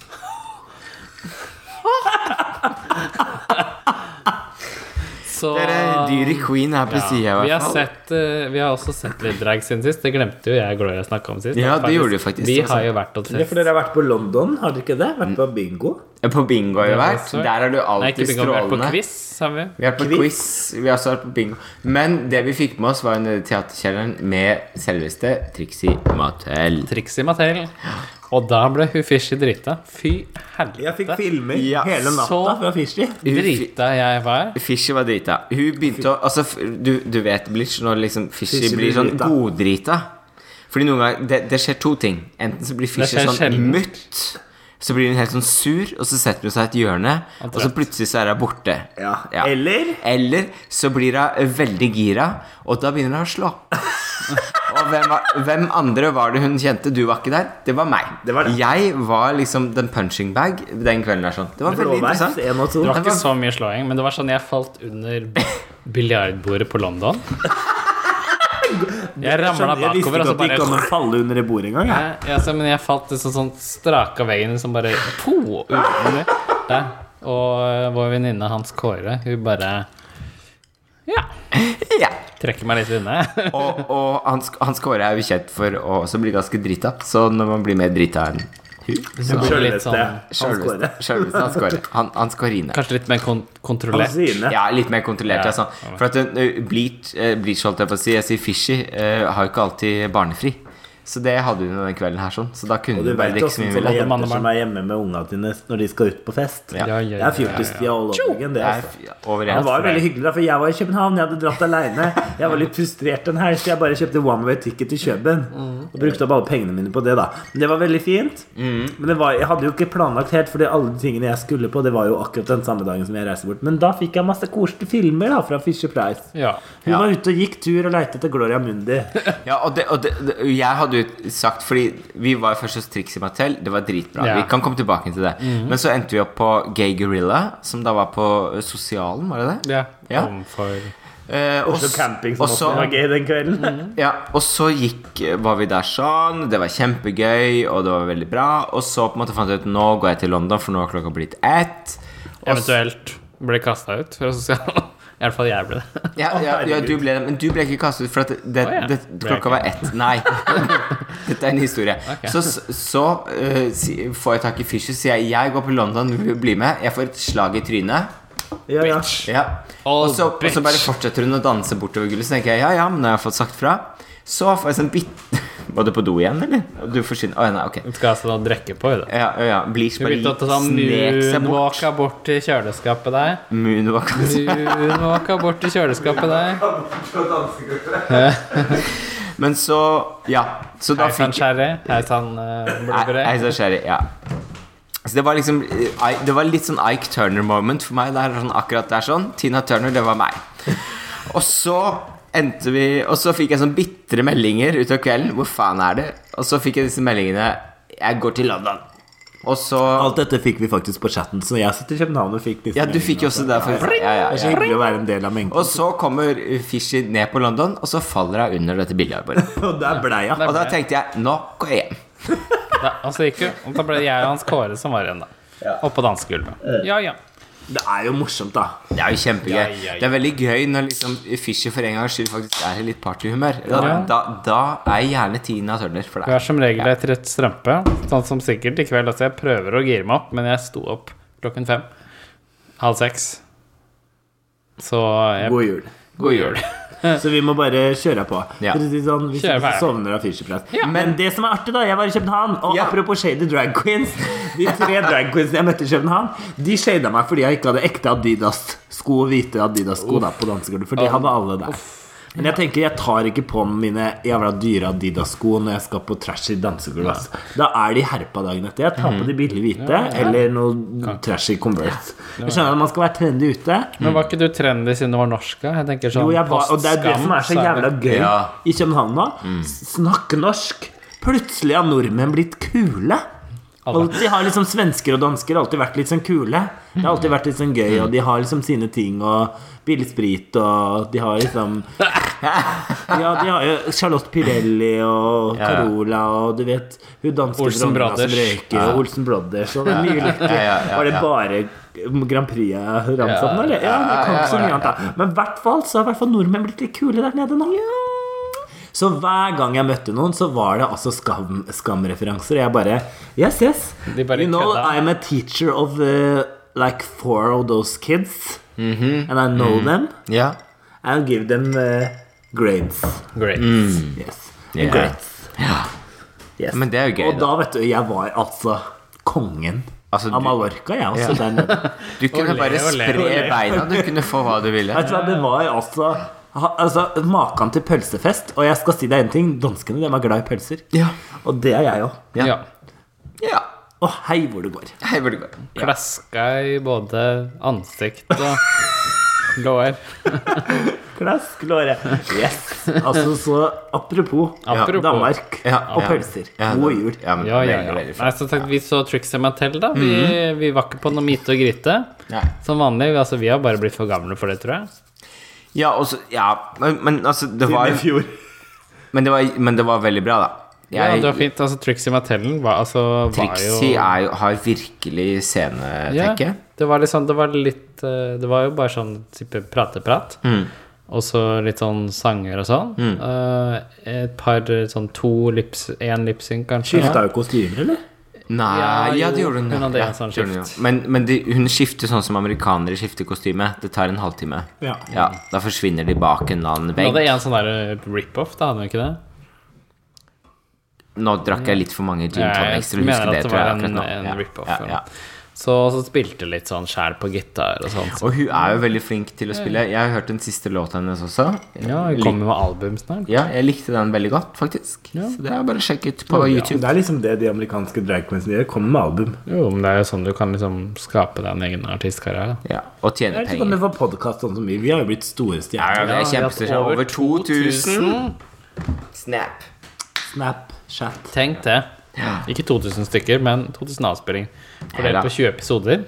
[SPEAKER 2] Så
[SPEAKER 1] Dere dyre queen her på siden sida, i
[SPEAKER 2] vi har,
[SPEAKER 1] hvert fall.
[SPEAKER 2] sett, eh, vi har også sett litt drag siden sist. Det glemte jo jeg og Gloria snakka om sist.
[SPEAKER 1] Ja, det gjorde vi faktisk,
[SPEAKER 2] Vi
[SPEAKER 1] altså.
[SPEAKER 2] har jo vært og
[SPEAKER 3] Det er
[SPEAKER 2] sett
[SPEAKER 3] for dere har vært på London, har dere ikke det? Vært på bingo?
[SPEAKER 1] På bingo har vi vært.
[SPEAKER 2] også.
[SPEAKER 1] Der er du
[SPEAKER 2] Nei, ikke
[SPEAKER 1] alltid
[SPEAKER 2] bingo, vi har vært på
[SPEAKER 1] strålende.
[SPEAKER 2] quiz, har vi.
[SPEAKER 1] Vi har vært på quiz, vi har også vært på bingo. Men det vi fikk med oss, var nede i teaterkjelleren med selveste Trixie Mattel.
[SPEAKER 2] Trixie Mattel. Og da ble hun fishy drita. Fy
[SPEAKER 3] Jeg fikk
[SPEAKER 2] helvete.
[SPEAKER 3] filmer
[SPEAKER 1] Ja,
[SPEAKER 3] hele natta
[SPEAKER 2] så-
[SPEAKER 3] fra Fishy.
[SPEAKER 2] Drita jeg var.
[SPEAKER 1] Fishy var drita. Hun begynte å Altså, f- du, du vet, Blitz, når liksom Fishy,
[SPEAKER 3] Fishy
[SPEAKER 1] blir
[SPEAKER 3] blir
[SPEAKER 1] sånn
[SPEAKER 3] drita.
[SPEAKER 1] goddrita Fordi noen ganger det, det skjer to ting. Enten så blir Fishy
[SPEAKER 2] skjer
[SPEAKER 1] sånn
[SPEAKER 2] sjelden.
[SPEAKER 1] mutt, så blir hun helt sånn sur, og så setter hun seg i et hjørne, og så plutselig så er hun borte.
[SPEAKER 3] Ja. Eller
[SPEAKER 1] Eller så blir hun veldig gira, og da begynner hun å slå. Og hvem, var, hvem andre var det hun kjente? Du var ikke der. Det var meg.
[SPEAKER 3] Det var det.
[SPEAKER 1] Jeg var liksom den punching bag den kvelden. Der, sånn. Det var veldig
[SPEAKER 3] Blåveis
[SPEAKER 1] interessant.
[SPEAKER 3] 1 og 2.
[SPEAKER 2] Det var
[SPEAKER 1] Det
[SPEAKER 2] ikke
[SPEAKER 1] var-
[SPEAKER 2] så mye slåing, men det var sånn jeg falt under biljardbordet på London. Jeg ramla
[SPEAKER 3] Jeg visste
[SPEAKER 2] bakover, og
[SPEAKER 3] ikke
[SPEAKER 2] så
[SPEAKER 3] at det
[SPEAKER 2] bare
[SPEAKER 3] gikk an å falle under det bordet engang. jeg.
[SPEAKER 2] Nei, ja, så, Men jeg falt liksom sånn straka veggen som bare po, under der. Og eh, vår venninne Hans Kåre, hun bare Ja.
[SPEAKER 1] Ja.
[SPEAKER 2] Trekker meg litt unna.
[SPEAKER 1] Og, og Hans, Hans Kåre er jo kjent for å også bli ganske drita. Så når man blir mer drita enn hun så-
[SPEAKER 2] blir det litt sånn-
[SPEAKER 1] Sjølveste sjølveste Hans Kåre. Han, Hans Kårine.
[SPEAKER 2] Kanskje litt mer kon kontrollert.
[SPEAKER 1] Altså,
[SPEAKER 3] Kåre.
[SPEAKER 1] Ja, litt mer kontrollert.
[SPEAKER 2] Ja.
[SPEAKER 1] Altså. For at eh, Bleach, eh, Bleach holdt jeg på å si, jeg sier Fishy, eh, har jo ikke alltid barnefri. Så det hadde hun den kvelden her, sånn. Så da kunne
[SPEAKER 3] Og du
[SPEAKER 1] hun bare
[SPEAKER 3] vet
[SPEAKER 1] drikke så
[SPEAKER 3] åssen
[SPEAKER 1] mye hun
[SPEAKER 3] sånne
[SPEAKER 1] ville.
[SPEAKER 2] Mann og
[SPEAKER 3] jenter som
[SPEAKER 2] mann.
[SPEAKER 3] er hjemme med unga dine når de skal ut på fest.
[SPEAKER 1] Ja.
[SPEAKER 2] Ja, ja,
[SPEAKER 3] Det er
[SPEAKER 2] ja, ja, ja.
[SPEAKER 3] fjortistida all over again, det.
[SPEAKER 1] Jeg
[SPEAKER 3] Altså.
[SPEAKER 1] er f- over
[SPEAKER 3] Det
[SPEAKER 1] en
[SPEAKER 3] var jo veldig
[SPEAKER 1] strek.
[SPEAKER 3] hyggelig, da, for jeg var i København. Jeg hadde dratt alene. Jeg var litt frustrert en helg, så jeg bare kjøpte one way ticket til Køben.
[SPEAKER 1] Mm.
[SPEAKER 3] Og brukte opp alle pengene mine på det, da. Men det var veldig fint.
[SPEAKER 1] Mm.
[SPEAKER 3] Men det var, jeg hadde jo ikke planlagt helt, fordi alle de tingene jeg skulle på, det var jo akkurat den samme dagen som jeg reiste bort. Men da fikk jeg masse koselige filmer da, fra Fisher Price.
[SPEAKER 2] Ja.
[SPEAKER 1] Ja.
[SPEAKER 3] Hun var ute og gikk tur og leite etter Gloria Mundi.
[SPEAKER 1] Ja, og, det, og det, det, jeg hadde jo sagt Fordi vi var først hos Trixie Mattel. Det var dritbra.
[SPEAKER 2] Ja. Mhm.
[SPEAKER 1] Vi kan komme tilbake til det. Men så endte vi opp på Gay Gorilla, som da var på eh, Sosialen, var det det?
[SPEAKER 2] ja.
[SPEAKER 1] Ja.
[SPEAKER 2] Overfor
[SPEAKER 1] Eh, og
[SPEAKER 3] Oslo
[SPEAKER 1] s-
[SPEAKER 3] Camping, som
[SPEAKER 1] og så- Mm.
[SPEAKER 3] også var gøy den kvelden.
[SPEAKER 1] Ja, og så gikk, var vi der sånn Det var kjempegøy, og det var veldig bra Og så på en måte fant jeg ut Nå går jeg til London, for nå har klokka blitt ett Og s-
[SPEAKER 2] Eventuelt ble kasta ut fra sosialen. sånn. I hvert fall jeg ble det.
[SPEAKER 1] ja, ja, ja, du ble, Men du ble ikke kastet ut For at det, det,
[SPEAKER 2] Å, ja.
[SPEAKER 1] det,
[SPEAKER 2] Ble jeg
[SPEAKER 1] klokka var ett Nei Dette er en historie
[SPEAKER 2] Ok.
[SPEAKER 1] Så, så, eh, si, får jeg tak i Fisher Sier jeg, jeg går på London, vil du bli med? Jeg får et slag i trynet
[SPEAKER 3] Ja, ja.
[SPEAKER 1] Ja.
[SPEAKER 2] Oh,
[SPEAKER 1] og, så, og
[SPEAKER 2] bitch.
[SPEAKER 1] så bare fortsetter hun å danse bortover gullet. Så tenker jeg ja, ja, men nå har jeg fått sagt fra. Så får jeg sånn bitte Var du på do igjen, eller? Og Du forsvinner Å, nei, ok.
[SPEAKER 2] Skal altså drikke på i det.
[SPEAKER 1] Ja, ja, ja. Bleach
[SPEAKER 2] Hun
[SPEAKER 1] bare
[SPEAKER 2] begynte å ta sånn
[SPEAKER 1] snek seg bort.
[SPEAKER 2] moonwalka bort til kjøleskapet der.
[SPEAKER 1] Moonwalk.
[SPEAKER 2] Moonwalka bort til kjøleskapet der.
[SPEAKER 1] Men så Ja. Så da
[SPEAKER 2] Hei sann,
[SPEAKER 1] fikk
[SPEAKER 2] Sherry. Hei sann, eh,
[SPEAKER 1] Nei,
[SPEAKER 2] bloggere.
[SPEAKER 1] nei, så skjer det, ja. Så det var liksom eh, I- Det var litt sånn Ike Turner-moment for meg. Der, sånn, akkurat der sånn Tina Turner, det var meg. Og så endte vi Og så fikk jeg sånn bitre meldinger utover kvelden. Hvor faen er det? Og så fikk jeg disse meldingene Jeg går til London. Og så
[SPEAKER 3] Alt dette fikk vi faktisk på chatten, så jeg sitter i København og fikk disse
[SPEAKER 1] Ja, du fikk jo også det. For, ja, ja,
[SPEAKER 3] Det er så
[SPEAKER 1] ja.
[SPEAKER 3] hyggelig å være en del av mengden.
[SPEAKER 1] Og så kommer Fishy ned på London, og så faller hun under dette billigarbordet.
[SPEAKER 3] Og der ble jeg.
[SPEAKER 1] Og da tenkte jeg Nå går jeg hjem.
[SPEAKER 2] Da, altså, gikk jo, og da ble det jeg og Hans Kåre som var igjen, da. Oppå dansegulvet.
[SPEAKER 3] Eh.
[SPEAKER 2] Ja, ja.
[SPEAKER 3] Det er jo morsomt, da.
[SPEAKER 1] Det er jo kjempegøy.
[SPEAKER 2] Ja, ja, ja.
[SPEAKER 1] Det er veldig gøy når liksom Fischer for en gangs skyld faktisk er i litt partyhumør. Da,
[SPEAKER 2] Ja.
[SPEAKER 1] da, da er gjerne Tina Turner for
[SPEAKER 2] Du er
[SPEAKER 1] deg.
[SPEAKER 2] som regel etter et strømpe, sånn som sikkert i kveld. Altså, jeg prøver å gire meg opp, men jeg sto opp klokken fem. Halv seks. Så jeg
[SPEAKER 3] God jul.
[SPEAKER 1] God jul.
[SPEAKER 3] Så vi må bare kjøre på.
[SPEAKER 1] Eh, Ja.
[SPEAKER 3] For å si det sånn, hvis
[SPEAKER 2] Kjør
[SPEAKER 3] ikke
[SPEAKER 2] på.
[SPEAKER 3] så sovner av fyrseprat.
[SPEAKER 2] Ja.
[SPEAKER 3] Men det som er artig, da Jeg var i København, og
[SPEAKER 1] Ja.
[SPEAKER 3] apropos shady drag queens De tre drag queensene jeg møtte i København, de shada meg fordi jeg ikke hadde ekte Adidas-sko, hvite Adidas-sko da på dansegulvet. For de hadde alle der. Men jeg tenker, jeg tar ikke på meg mine jævla dyre Adidas-sko når jeg skal på trashy dansegulv. ass. Da er de herpa dagen etter. Jeg
[SPEAKER 2] Mhm.
[SPEAKER 3] tar på de billige hvite eller noe trashy Converse. Jeg skjønner at man skal være trendy ute,
[SPEAKER 2] Men var ikke du trendy siden du var norsk? da? Jeg tenker sånn
[SPEAKER 3] jo, jeg var, og det er det
[SPEAKER 2] postskam,
[SPEAKER 3] som er så jævla
[SPEAKER 2] det-
[SPEAKER 3] gøy
[SPEAKER 1] Ja. Mm.
[SPEAKER 3] i København nå. Snakk norsk. Plutselig har nordmenn blitt kule. Alltid har liksom Svensker og dansker alltid vært litt sånn kule. Det har alltid vært litt sånn gøy, og de har liksom sine ting og billig sprit og De har liksom Ja, de har jo Charlotte Pirelli
[SPEAKER 1] Ja,
[SPEAKER 3] og
[SPEAKER 1] ja.
[SPEAKER 3] Carola og du vet Hun danske
[SPEAKER 2] Olsen
[SPEAKER 3] dronninga
[SPEAKER 2] Brothers.
[SPEAKER 3] som røyker, og Olsen Brothers og det er mye lykke.
[SPEAKER 1] Ja, ja, ja,
[SPEAKER 3] Var det
[SPEAKER 1] ja.
[SPEAKER 3] bare Grand Prix jeg ramset
[SPEAKER 2] Ja.
[SPEAKER 3] nå, eller? Ja, det kan ikke så
[SPEAKER 1] ja,
[SPEAKER 3] mye annet, da. Men i hvert fall så har i hvert fall nordmenn blitt litt kule der nede nå. Så hver gang jeg møtte noen, så var det altså skam, skamreferanser. Jeg bare Yes, yes.
[SPEAKER 2] De bare
[SPEAKER 3] you know,
[SPEAKER 2] kødda.
[SPEAKER 3] I'm a teacher of uh, like four of those kids.
[SPEAKER 1] Mm-hmm.
[SPEAKER 3] And I know them.
[SPEAKER 1] Ja.
[SPEAKER 3] And give them uh, grades.
[SPEAKER 2] Great.
[SPEAKER 3] Mm, Yes.
[SPEAKER 1] Ja.
[SPEAKER 3] Grades. Yes.
[SPEAKER 1] Mm. Men det er jo gøy,
[SPEAKER 3] Og
[SPEAKER 1] da.
[SPEAKER 3] da, vet du, jeg var altså kongen
[SPEAKER 1] Altså,
[SPEAKER 3] av
[SPEAKER 1] du-
[SPEAKER 3] Mallorca, jeg,
[SPEAKER 1] Ja.
[SPEAKER 3] altså, der nede.
[SPEAKER 1] Du kunne
[SPEAKER 2] Olé,
[SPEAKER 1] bare
[SPEAKER 2] olé,
[SPEAKER 1] spre
[SPEAKER 3] olé.
[SPEAKER 1] beina. Du kunne få hva du ville.
[SPEAKER 3] Vet du hva, det var altså ha, Altså, Maken til pølsefest. Og jeg skal si deg en ting. Danskene de er glad i pølser.
[SPEAKER 1] Ja.
[SPEAKER 3] Og det er jeg òg.
[SPEAKER 1] Ja.
[SPEAKER 2] Ja.
[SPEAKER 1] ja.
[SPEAKER 3] Og hei hvor det går.
[SPEAKER 1] Hei, hvor det går. Ja.
[SPEAKER 2] Klaska i både ansikt og lår.
[SPEAKER 3] Klask, Låre. Yes. Altså, så apropos,
[SPEAKER 2] Apropos.
[SPEAKER 3] Danmark
[SPEAKER 1] Ja,
[SPEAKER 3] og
[SPEAKER 1] ja.
[SPEAKER 3] pølser.
[SPEAKER 1] Ja, det-
[SPEAKER 3] God jul.
[SPEAKER 1] Ja, men,
[SPEAKER 2] Ja, ja, ja.
[SPEAKER 1] Veldig, veldig
[SPEAKER 2] Nei,
[SPEAKER 1] fint. Mhm.
[SPEAKER 2] som sagt, vi så Trixie Mattel, da. Vi, vi var ikke på noe myte og gryte.
[SPEAKER 1] Nei.
[SPEAKER 2] Som vanlig. Vi, altså, vi har bare blitt for gamle for det, tror jeg.
[SPEAKER 1] Ja, og så Ja, men, men altså, det var
[SPEAKER 3] Siden i fjor.
[SPEAKER 1] Men det var, men det var veldig bra, da.
[SPEAKER 2] Ja, det var
[SPEAKER 1] Jeg,
[SPEAKER 2] fint. Altså, Trixie Mattellen var, altså, var jo
[SPEAKER 1] Trixie er jo, har virkelig scenetekke.
[SPEAKER 2] det var litt sånn, det var litt eh, Det var jo bare sånn type prateprat.
[SPEAKER 1] Mm.
[SPEAKER 2] Og så litt sånn sanger og sånn. Eh, et par eh, sånn to lips Én lipsynk, kanskje.
[SPEAKER 3] Skifta jo kostymer, eller?
[SPEAKER 1] Nei,
[SPEAKER 2] Ja,
[SPEAKER 1] ja,
[SPEAKER 2] jo,
[SPEAKER 1] det gjorde hun.
[SPEAKER 2] hun hadde
[SPEAKER 1] ja,
[SPEAKER 2] en sånn
[SPEAKER 1] det gjorde hun,
[SPEAKER 2] skift.
[SPEAKER 1] ja. Men, men de, hun skifter sånn som amerikanere skifter kostyme. Det tar en halvtime.
[SPEAKER 3] Ja.
[SPEAKER 1] Ja, Da forsvinner de bak en eller annen
[SPEAKER 2] Hun
[SPEAKER 1] vegg.
[SPEAKER 2] hadde en sånn der eh, rip-off, da hadde hun ikke det?
[SPEAKER 1] Nå drakk jeg litt for mange gin tonics til å huske
[SPEAKER 2] mener
[SPEAKER 1] det,
[SPEAKER 2] at det
[SPEAKER 1] tror
[SPEAKER 2] var
[SPEAKER 1] jeg.
[SPEAKER 2] en,
[SPEAKER 1] akkurat nå.
[SPEAKER 2] en
[SPEAKER 1] Ja,
[SPEAKER 2] rip-off.
[SPEAKER 1] ja,
[SPEAKER 2] eller
[SPEAKER 1] ja.
[SPEAKER 2] noe. Så, så spilte litt sånn sjæl på gitar og sånt.
[SPEAKER 1] Og hun er jo veldig flink til å spille. Jeg har hørt den siste låta hennes også.
[SPEAKER 2] ja, hun
[SPEAKER 1] Lik-
[SPEAKER 2] kommer med album snart.
[SPEAKER 1] ja, jeg likte den veldig godt, faktisk. Så det er bare å sjekke ut på YouTube.
[SPEAKER 3] Det er liksom det de amerikanske drag queensene gjør. Kommer med album.
[SPEAKER 2] Jo, men det er jo sånn du kan liksom skape deg en egen artistkarriere. da.
[SPEAKER 1] Ja, og tjene
[SPEAKER 3] Eller så kan
[SPEAKER 1] penger.
[SPEAKER 3] du få podkast sånn som vi. Vi har jo blitt store
[SPEAKER 1] Ja, det
[SPEAKER 3] stjerner.
[SPEAKER 1] er
[SPEAKER 2] vi har hatt
[SPEAKER 1] kjempestort.
[SPEAKER 2] over
[SPEAKER 1] Over 2000. Snap.
[SPEAKER 3] Snap, chat.
[SPEAKER 2] Tenk det. Ikke 2000 stykker, men 2000 avspilling.
[SPEAKER 1] Ja, da.
[SPEAKER 2] Fordelt på 20 episoder.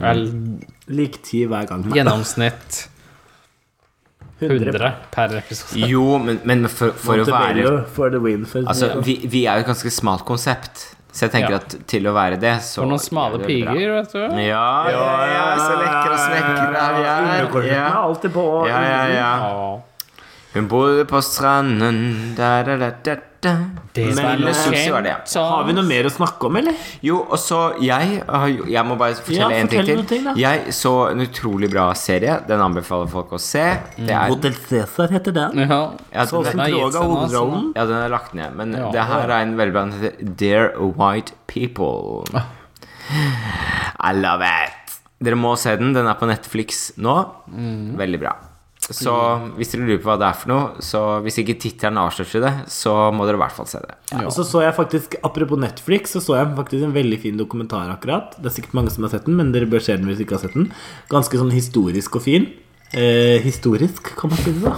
[SPEAKER 2] Vel,
[SPEAKER 1] Mm.
[SPEAKER 3] Lik ti hver gang.
[SPEAKER 2] gjennomsnitt 100 per episode.
[SPEAKER 1] Jo, men, men for, for å være
[SPEAKER 3] Montebello for the win. For
[SPEAKER 1] Altså, vi, vi er jo et ganske smalt konsept, så jeg tenker
[SPEAKER 2] Ja.
[SPEAKER 1] at til å være det, så
[SPEAKER 2] For noen smale
[SPEAKER 1] gjør vi det bra.
[SPEAKER 2] piger, vet du.
[SPEAKER 1] Ja, ja, ja, så lekre og snekre vi er.
[SPEAKER 3] Underkorten
[SPEAKER 1] Ja.
[SPEAKER 3] er alltid på.
[SPEAKER 1] Ja, ja, ja.
[SPEAKER 2] Åh.
[SPEAKER 1] Hun bodde på stranden da, da, da, da, da.
[SPEAKER 2] Det
[SPEAKER 1] Men,
[SPEAKER 2] var
[SPEAKER 1] eh, suksess var det, ja.
[SPEAKER 2] kjent,
[SPEAKER 3] Har vi noe mer å snakke om, eller?
[SPEAKER 1] Jo, og så jeg har jo- Jeg må bare
[SPEAKER 3] Ja,
[SPEAKER 1] fortelle en ting
[SPEAKER 3] fortell
[SPEAKER 1] til.
[SPEAKER 3] noe til, da.
[SPEAKER 1] jeg så en utrolig bra serie. Den anbefaler folk å se. Det er,
[SPEAKER 3] Hotel Cæsar heter den.
[SPEAKER 2] Ja.
[SPEAKER 1] ja, den,
[SPEAKER 3] Åsen
[SPEAKER 2] har gitt
[SPEAKER 3] Krogh har
[SPEAKER 2] seg nå, så nå-
[SPEAKER 3] hovedrollen.
[SPEAKER 1] ja, den er lagt ned. Men
[SPEAKER 2] Ja.
[SPEAKER 1] det her er en veldig bra Den heter Dear White People. I love it! Dere må se den. Den er på Netflix nå. Veldig bra. Så hvis dere lurer på hva det er for noe, så hvis ikke tittelen avslører det, så må dere i hvert fall se det.
[SPEAKER 3] Og så så jeg faktisk, apropos Netflix, så så jeg faktisk en veldig fin dokumentar akkurat. Det er sikkert mange som har sett den, men dere bør se den hvis dere ikke har sett den. Ganske sånn historisk og fin. Eh, historisk, kan man si det da.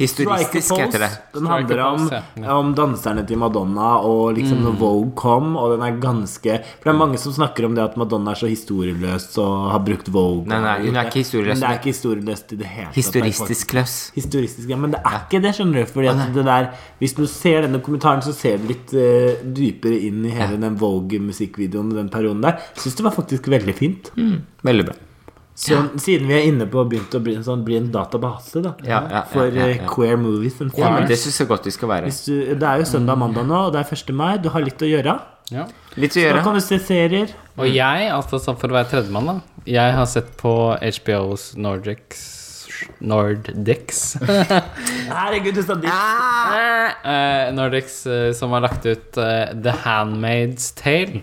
[SPEAKER 1] Historistisk
[SPEAKER 3] Strike a
[SPEAKER 1] heter det.
[SPEAKER 3] Pose. Den
[SPEAKER 2] Strike a
[SPEAKER 3] handler om,
[SPEAKER 2] Pose, ja.
[SPEAKER 3] om danserne til Madonna og liksom når Vogue kom, og den er ganske For det er mange som snakker om det at Madonna er så historieløs og har brukt Vogue.
[SPEAKER 1] Nei, nei, hun er ikke historieløs.
[SPEAKER 3] Men det er ikke historieløst i det hele tatt.
[SPEAKER 1] Historistisk løs.
[SPEAKER 3] Historistisk, ja, Men det er ikke det, skjønner du. Fordi at det der, Hvis du ser denne kommentaren, så ser du litt eh, dypere inn i hele den Vogue-musikkvideoen. og Den perioden der Syns det var faktisk veldig fint.
[SPEAKER 1] Mm. Veldig bra.
[SPEAKER 3] Så siden vi er inne på å begynne å bli en, sånn, bli en database da
[SPEAKER 1] Ja, ja, ja,
[SPEAKER 3] for
[SPEAKER 1] ja, ja.
[SPEAKER 3] eh, queer movies and
[SPEAKER 1] Ja, men
[SPEAKER 3] films.
[SPEAKER 1] Det syns jeg godt de skal være.
[SPEAKER 3] Hvis du, det er jo søndag og mandag nå, og det er 1. mai. Du har litt å gjøre.
[SPEAKER 2] Ja.
[SPEAKER 1] Litt å
[SPEAKER 3] Da
[SPEAKER 1] gjøre.
[SPEAKER 3] kan du se serier.
[SPEAKER 2] Og
[SPEAKER 1] Mm.
[SPEAKER 2] jeg, altså sånn for å være tredjemann, da Jeg har sett på HBOs Nordics Nordics
[SPEAKER 3] Herregud, du sa ditt.
[SPEAKER 1] Ah!
[SPEAKER 2] Eh, Nordics eh, som har lagt ut eh, The Handmaid's Tale.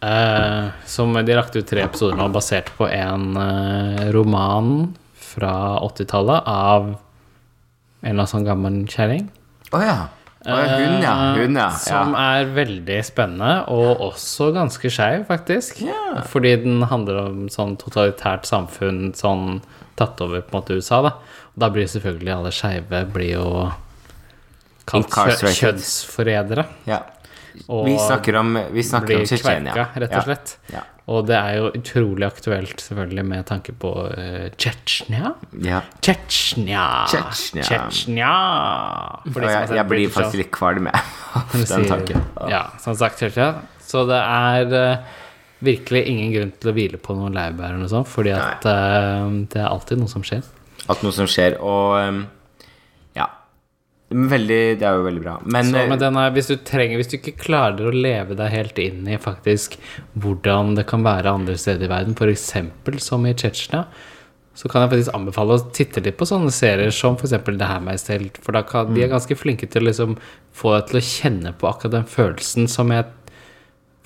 [SPEAKER 2] Eh, som de har lagt ut tre episoder nå, basert på en eh, roman fra 80-tallet av en eller annen sånn gammel kjerring.
[SPEAKER 1] Å ja. Å, ja. Hun, ja. Hun, ja.
[SPEAKER 2] Eh, Som
[SPEAKER 1] ja.
[SPEAKER 2] er veldig spennende, og også ganske skeiv, faktisk. Fordi den handler om sånn totalitært samfunn, sånn tatt over på en måte USA, da. Og da blir selvfølgelig alle skeive blir jo kalt kjø-
[SPEAKER 1] Incarcerated.
[SPEAKER 2] kjønnsforrædere.
[SPEAKER 1] ja.
[SPEAKER 2] Og
[SPEAKER 1] Vi snakker om Vi snakker
[SPEAKER 2] blir
[SPEAKER 1] om Tsjetsjenia.
[SPEAKER 2] kverka, rett og slett.
[SPEAKER 1] Ja.
[SPEAKER 2] Og det er jo utrolig aktuelt, selvfølgelig, med tanke på uh, Tsjetsjenia.
[SPEAKER 1] Ja.
[SPEAKER 2] Tsjetsjenia!
[SPEAKER 1] Tsjetsjenia.
[SPEAKER 2] Tsjetsjenia! For de som
[SPEAKER 1] Og
[SPEAKER 2] har
[SPEAKER 1] jeg,
[SPEAKER 2] sett
[SPEAKER 1] jeg blir
[SPEAKER 2] British House.
[SPEAKER 1] faktisk litt kvalm jeg, av
[SPEAKER 2] Hun
[SPEAKER 1] den
[SPEAKER 2] sier-
[SPEAKER 1] tanken.
[SPEAKER 2] Ja, som sagt, helt ja. Så det er eh, virkelig ingen grunn til å hvile på noen laurbær eller noe sånt, fordi at eh, det er alltid noe som skjer.
[SPEAKER 1] At noe som skjer. Og um, ja. Veldig Det er jo veldig bra. Men,
[SPEAKER 2] Så, men
[SPEAKER 1] eh,
[SPEAKER 2] den er, hvis du trenger, hvis du ikke klarer å leve deg helt inn i faktisk hvordan det kan være andre steder i verden, f.eks. som i Tsjetsjenia, så kan jeg faktisk anbefale å titte litt på sånne serier som f.eks. Det her med selv, for da kan,
[SPEAKER 1] Mm.
[SPEAKER 2] de er ganske flinke til å liksom få deg til å kjenne på akkurat den følelsen som jeg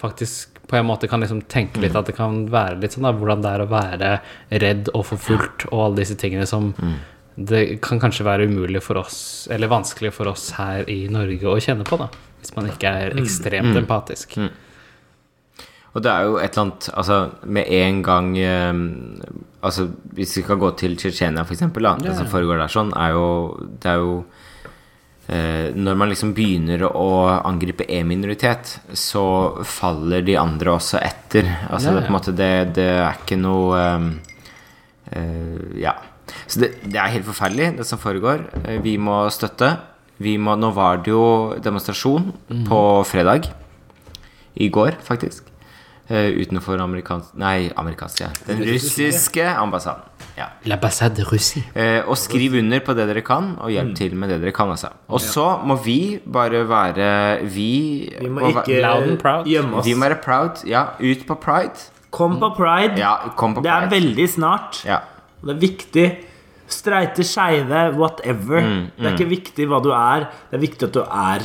[SPEAKER 2] faktisk på en måte kan liksom tenke
[SPEAKER 3] Mm.
[SPEAKER 2] litt at det kan være litt sånn da, hvordan det er å være redd og forfulgt og alle disse tingene som
[SPEAKER 3] Mm.
[SPEAKER 2] det kan kanskje være umulig for oss, eller vanskelig for oss her i Norge å kjenne på, da. Hvis man ikke
[SPEAKER 3] Mm.
[SPEAKER 2] er ekstremt empatisk.
[SPEAKER 1] og det er jo et eller annet Altså, med en gang um, Altså, hvis vi kan gå til Tsjetsjenia, for eksempel, da, det som foregår der sånn, er jo Det er jo Eh, når man liksom begynner å angripe en minoritet, så faller de andre også etter. Altså det,
[SPEAKER 2] Ja,
[SPEAKER 1] er på en
[SPEAKER 2] ja.
[SPEAKER 1] måte, det, det er ikke noe eh, eh, Ja. Så det, det er helt forferdelig, det som foregår. Eh, vi må støtte. Vi må, nå var det jo demonstrasjon
[SPEAKER 2] Mm.
[SPEAKER 1] på fredag. I går, faktisk. Eh, utenfor amerikansk Nei, amerikansk, ja. Den russiske ambassaden. Ja.
[SPEAKER 2] L'ambassade russie.
[SPEAKER 1] Eh, og skriv under på det dere kan, og hjelp til med det dere kan. Altså. Og så må vi bare være Vi,
[SPEAKER 3] Vi må
[SPEAKER 1] må
[SPEAKER 3] ikke
[SPEAKER 1] være-
[SPEAKER 2] Loud and proud.
[SPEAKER 3] gjemme oss.
[SPEAKER 1] vi må være proud. Ja, ut på pride.
[SPEAKER 3] Kom på pride.
[SPEAKER 1] Ja, kom på
[SPEAKER 3] det er
[SPEAKER 1] pride.
[SPEAKER 3] veldig snart.
[SPEAKER 1] Ja.
[SPEAKER 3] Og Det er viktig. Streite,
[SPEAKER 1] Mm,
[SPEAKER 3] skeive, whatever. Det er ikke viktig hva du er, det er viktig at du er.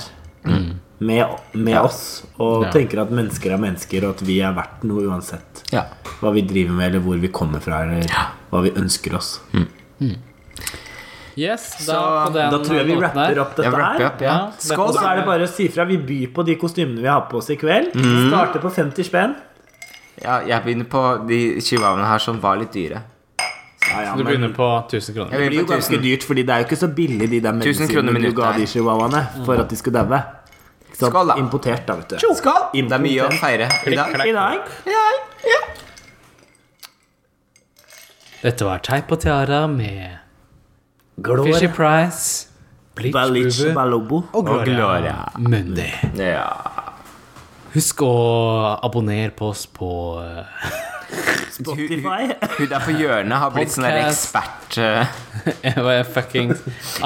[SPEAKER 3] med, med
[SPEAKER 1] Ja.
[SPEAKER 3] oss, og
[SPEAKER 2] Ja.
[SPEAKER 3] tenker at mennesker er mennesker, og at vi er verdt noe uansett
[SPEAKER 1] Ja.
[SPEAKER 3] hva vi driver med, eller hvor vi kommer fra, eller hva vi ønsker oss.
[SPEAKER 2] Yes, da,
[SPEAKER 1] Så,
[SPEAKER 2] på den
[SPEAKER 3] Da tror jeg vi
[SPEAKER 2] noten her.
[SPEAKER 3] rapper opp
[SPEAKER 1] Jeg
[SPEAKER 3] dette
[SPEAKER 1] wrapper
[SPEAKER 3] her.
[SPEAKER 1] opp, ja.
[SPEAKER 2] Ja,
[SPEAKER 1] Skål,
[SPEAKER 3] Og så
[SPEAKER 1] da!
[SPEAKER 3] er det bare å si fra. Vi byr på de kostymene vi har på oss i kveld.
[SPEAKER 1] Mhm.
[SPEAKER 3] Starter på 50 spenn.
[SPEAKER 1] Ja, jeg begynner på de chihuahuaene her som var litt dyre.
[SPEAKER 3] Ja, ja,
[SPEAKER 2] Du
[SPEAKER 3] men
[SPEAKER 2] begynner på 1000 kroner.
[SPEAKER 1] Jeg
[SPEAKER 3] det blir
[SPEAKER 1] begynner
[SPEAKER 3] jo
[SPEAKER 1] på
[SPEAKER 3] ganske
[SPEAKER 1] 1000.
[SPEAKER 3] dyrt, Fordi det er jo ikke så billig de der
[SPEAKER 1] 1000 kroner
[SPEAKER 3] medisinene du ga
[SPEAKER 1] minuttet
[SPEAKER 3] de
[SPEAKER 1] her.
[SPEAKER 3] chihuahuaene for at de skulle daue. Ikke sant?
[SPEAKER 1] Skål, da.
[SPEAKER 3] Importert, da, vet du.
[SPEAKER 1] Skål! Det er mye å feire i dag.
[SPEAKER 3] I dag
[SPEAKER 2] Dette var Teip og Tiara med Fishy
[SPEAKER 3] glår
[SPEAKER 2] Price,
[SPEAKER 3] Balich
[SPEAKER 2] Bleach
[SPEAKER 3] Balobo.
[SPEAKER 1] Og Gloria.
[SPEAKER 2] Mundi.
[SPEAKER 1] Ja.
[SPEAKER 2] Husk å abonnere på oss på eh,
[SPEAKER 3] Spotify.
[SPEAKER 1] Hun der på hjørnet har blitt sånn der
[SPEAKER 2] Podcast.
[SPEAKER 1] ekspert eh,
[SPEAKER 2] hva er fucking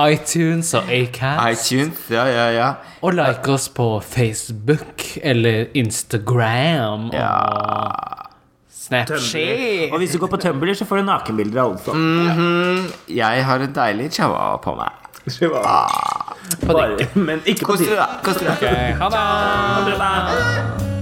[SPEAKER 2] iTunes og Acast.
[SPEAKER 1] iTunes. Ja, ja, ja.
[SPEAKER 2] Og like oss på Facebook eller Instagram og Snapchat.
[SPEAKER 3] Og hvis du går på Tumblr, så får du nakenbilder av alle sammen.
[SPEAKER 1] Jeg har en deilig chihuahua på meg.
[SPEAKER 3] Bare- Men ikke på
[SPEAKER 1] Kos
[SPEAKER 3] dine.
[SPEAKER 1] dere, da. Kos dere.
[SPEAKER 2] Ok, ha det!
[SPEAKER 3] Ha det bra.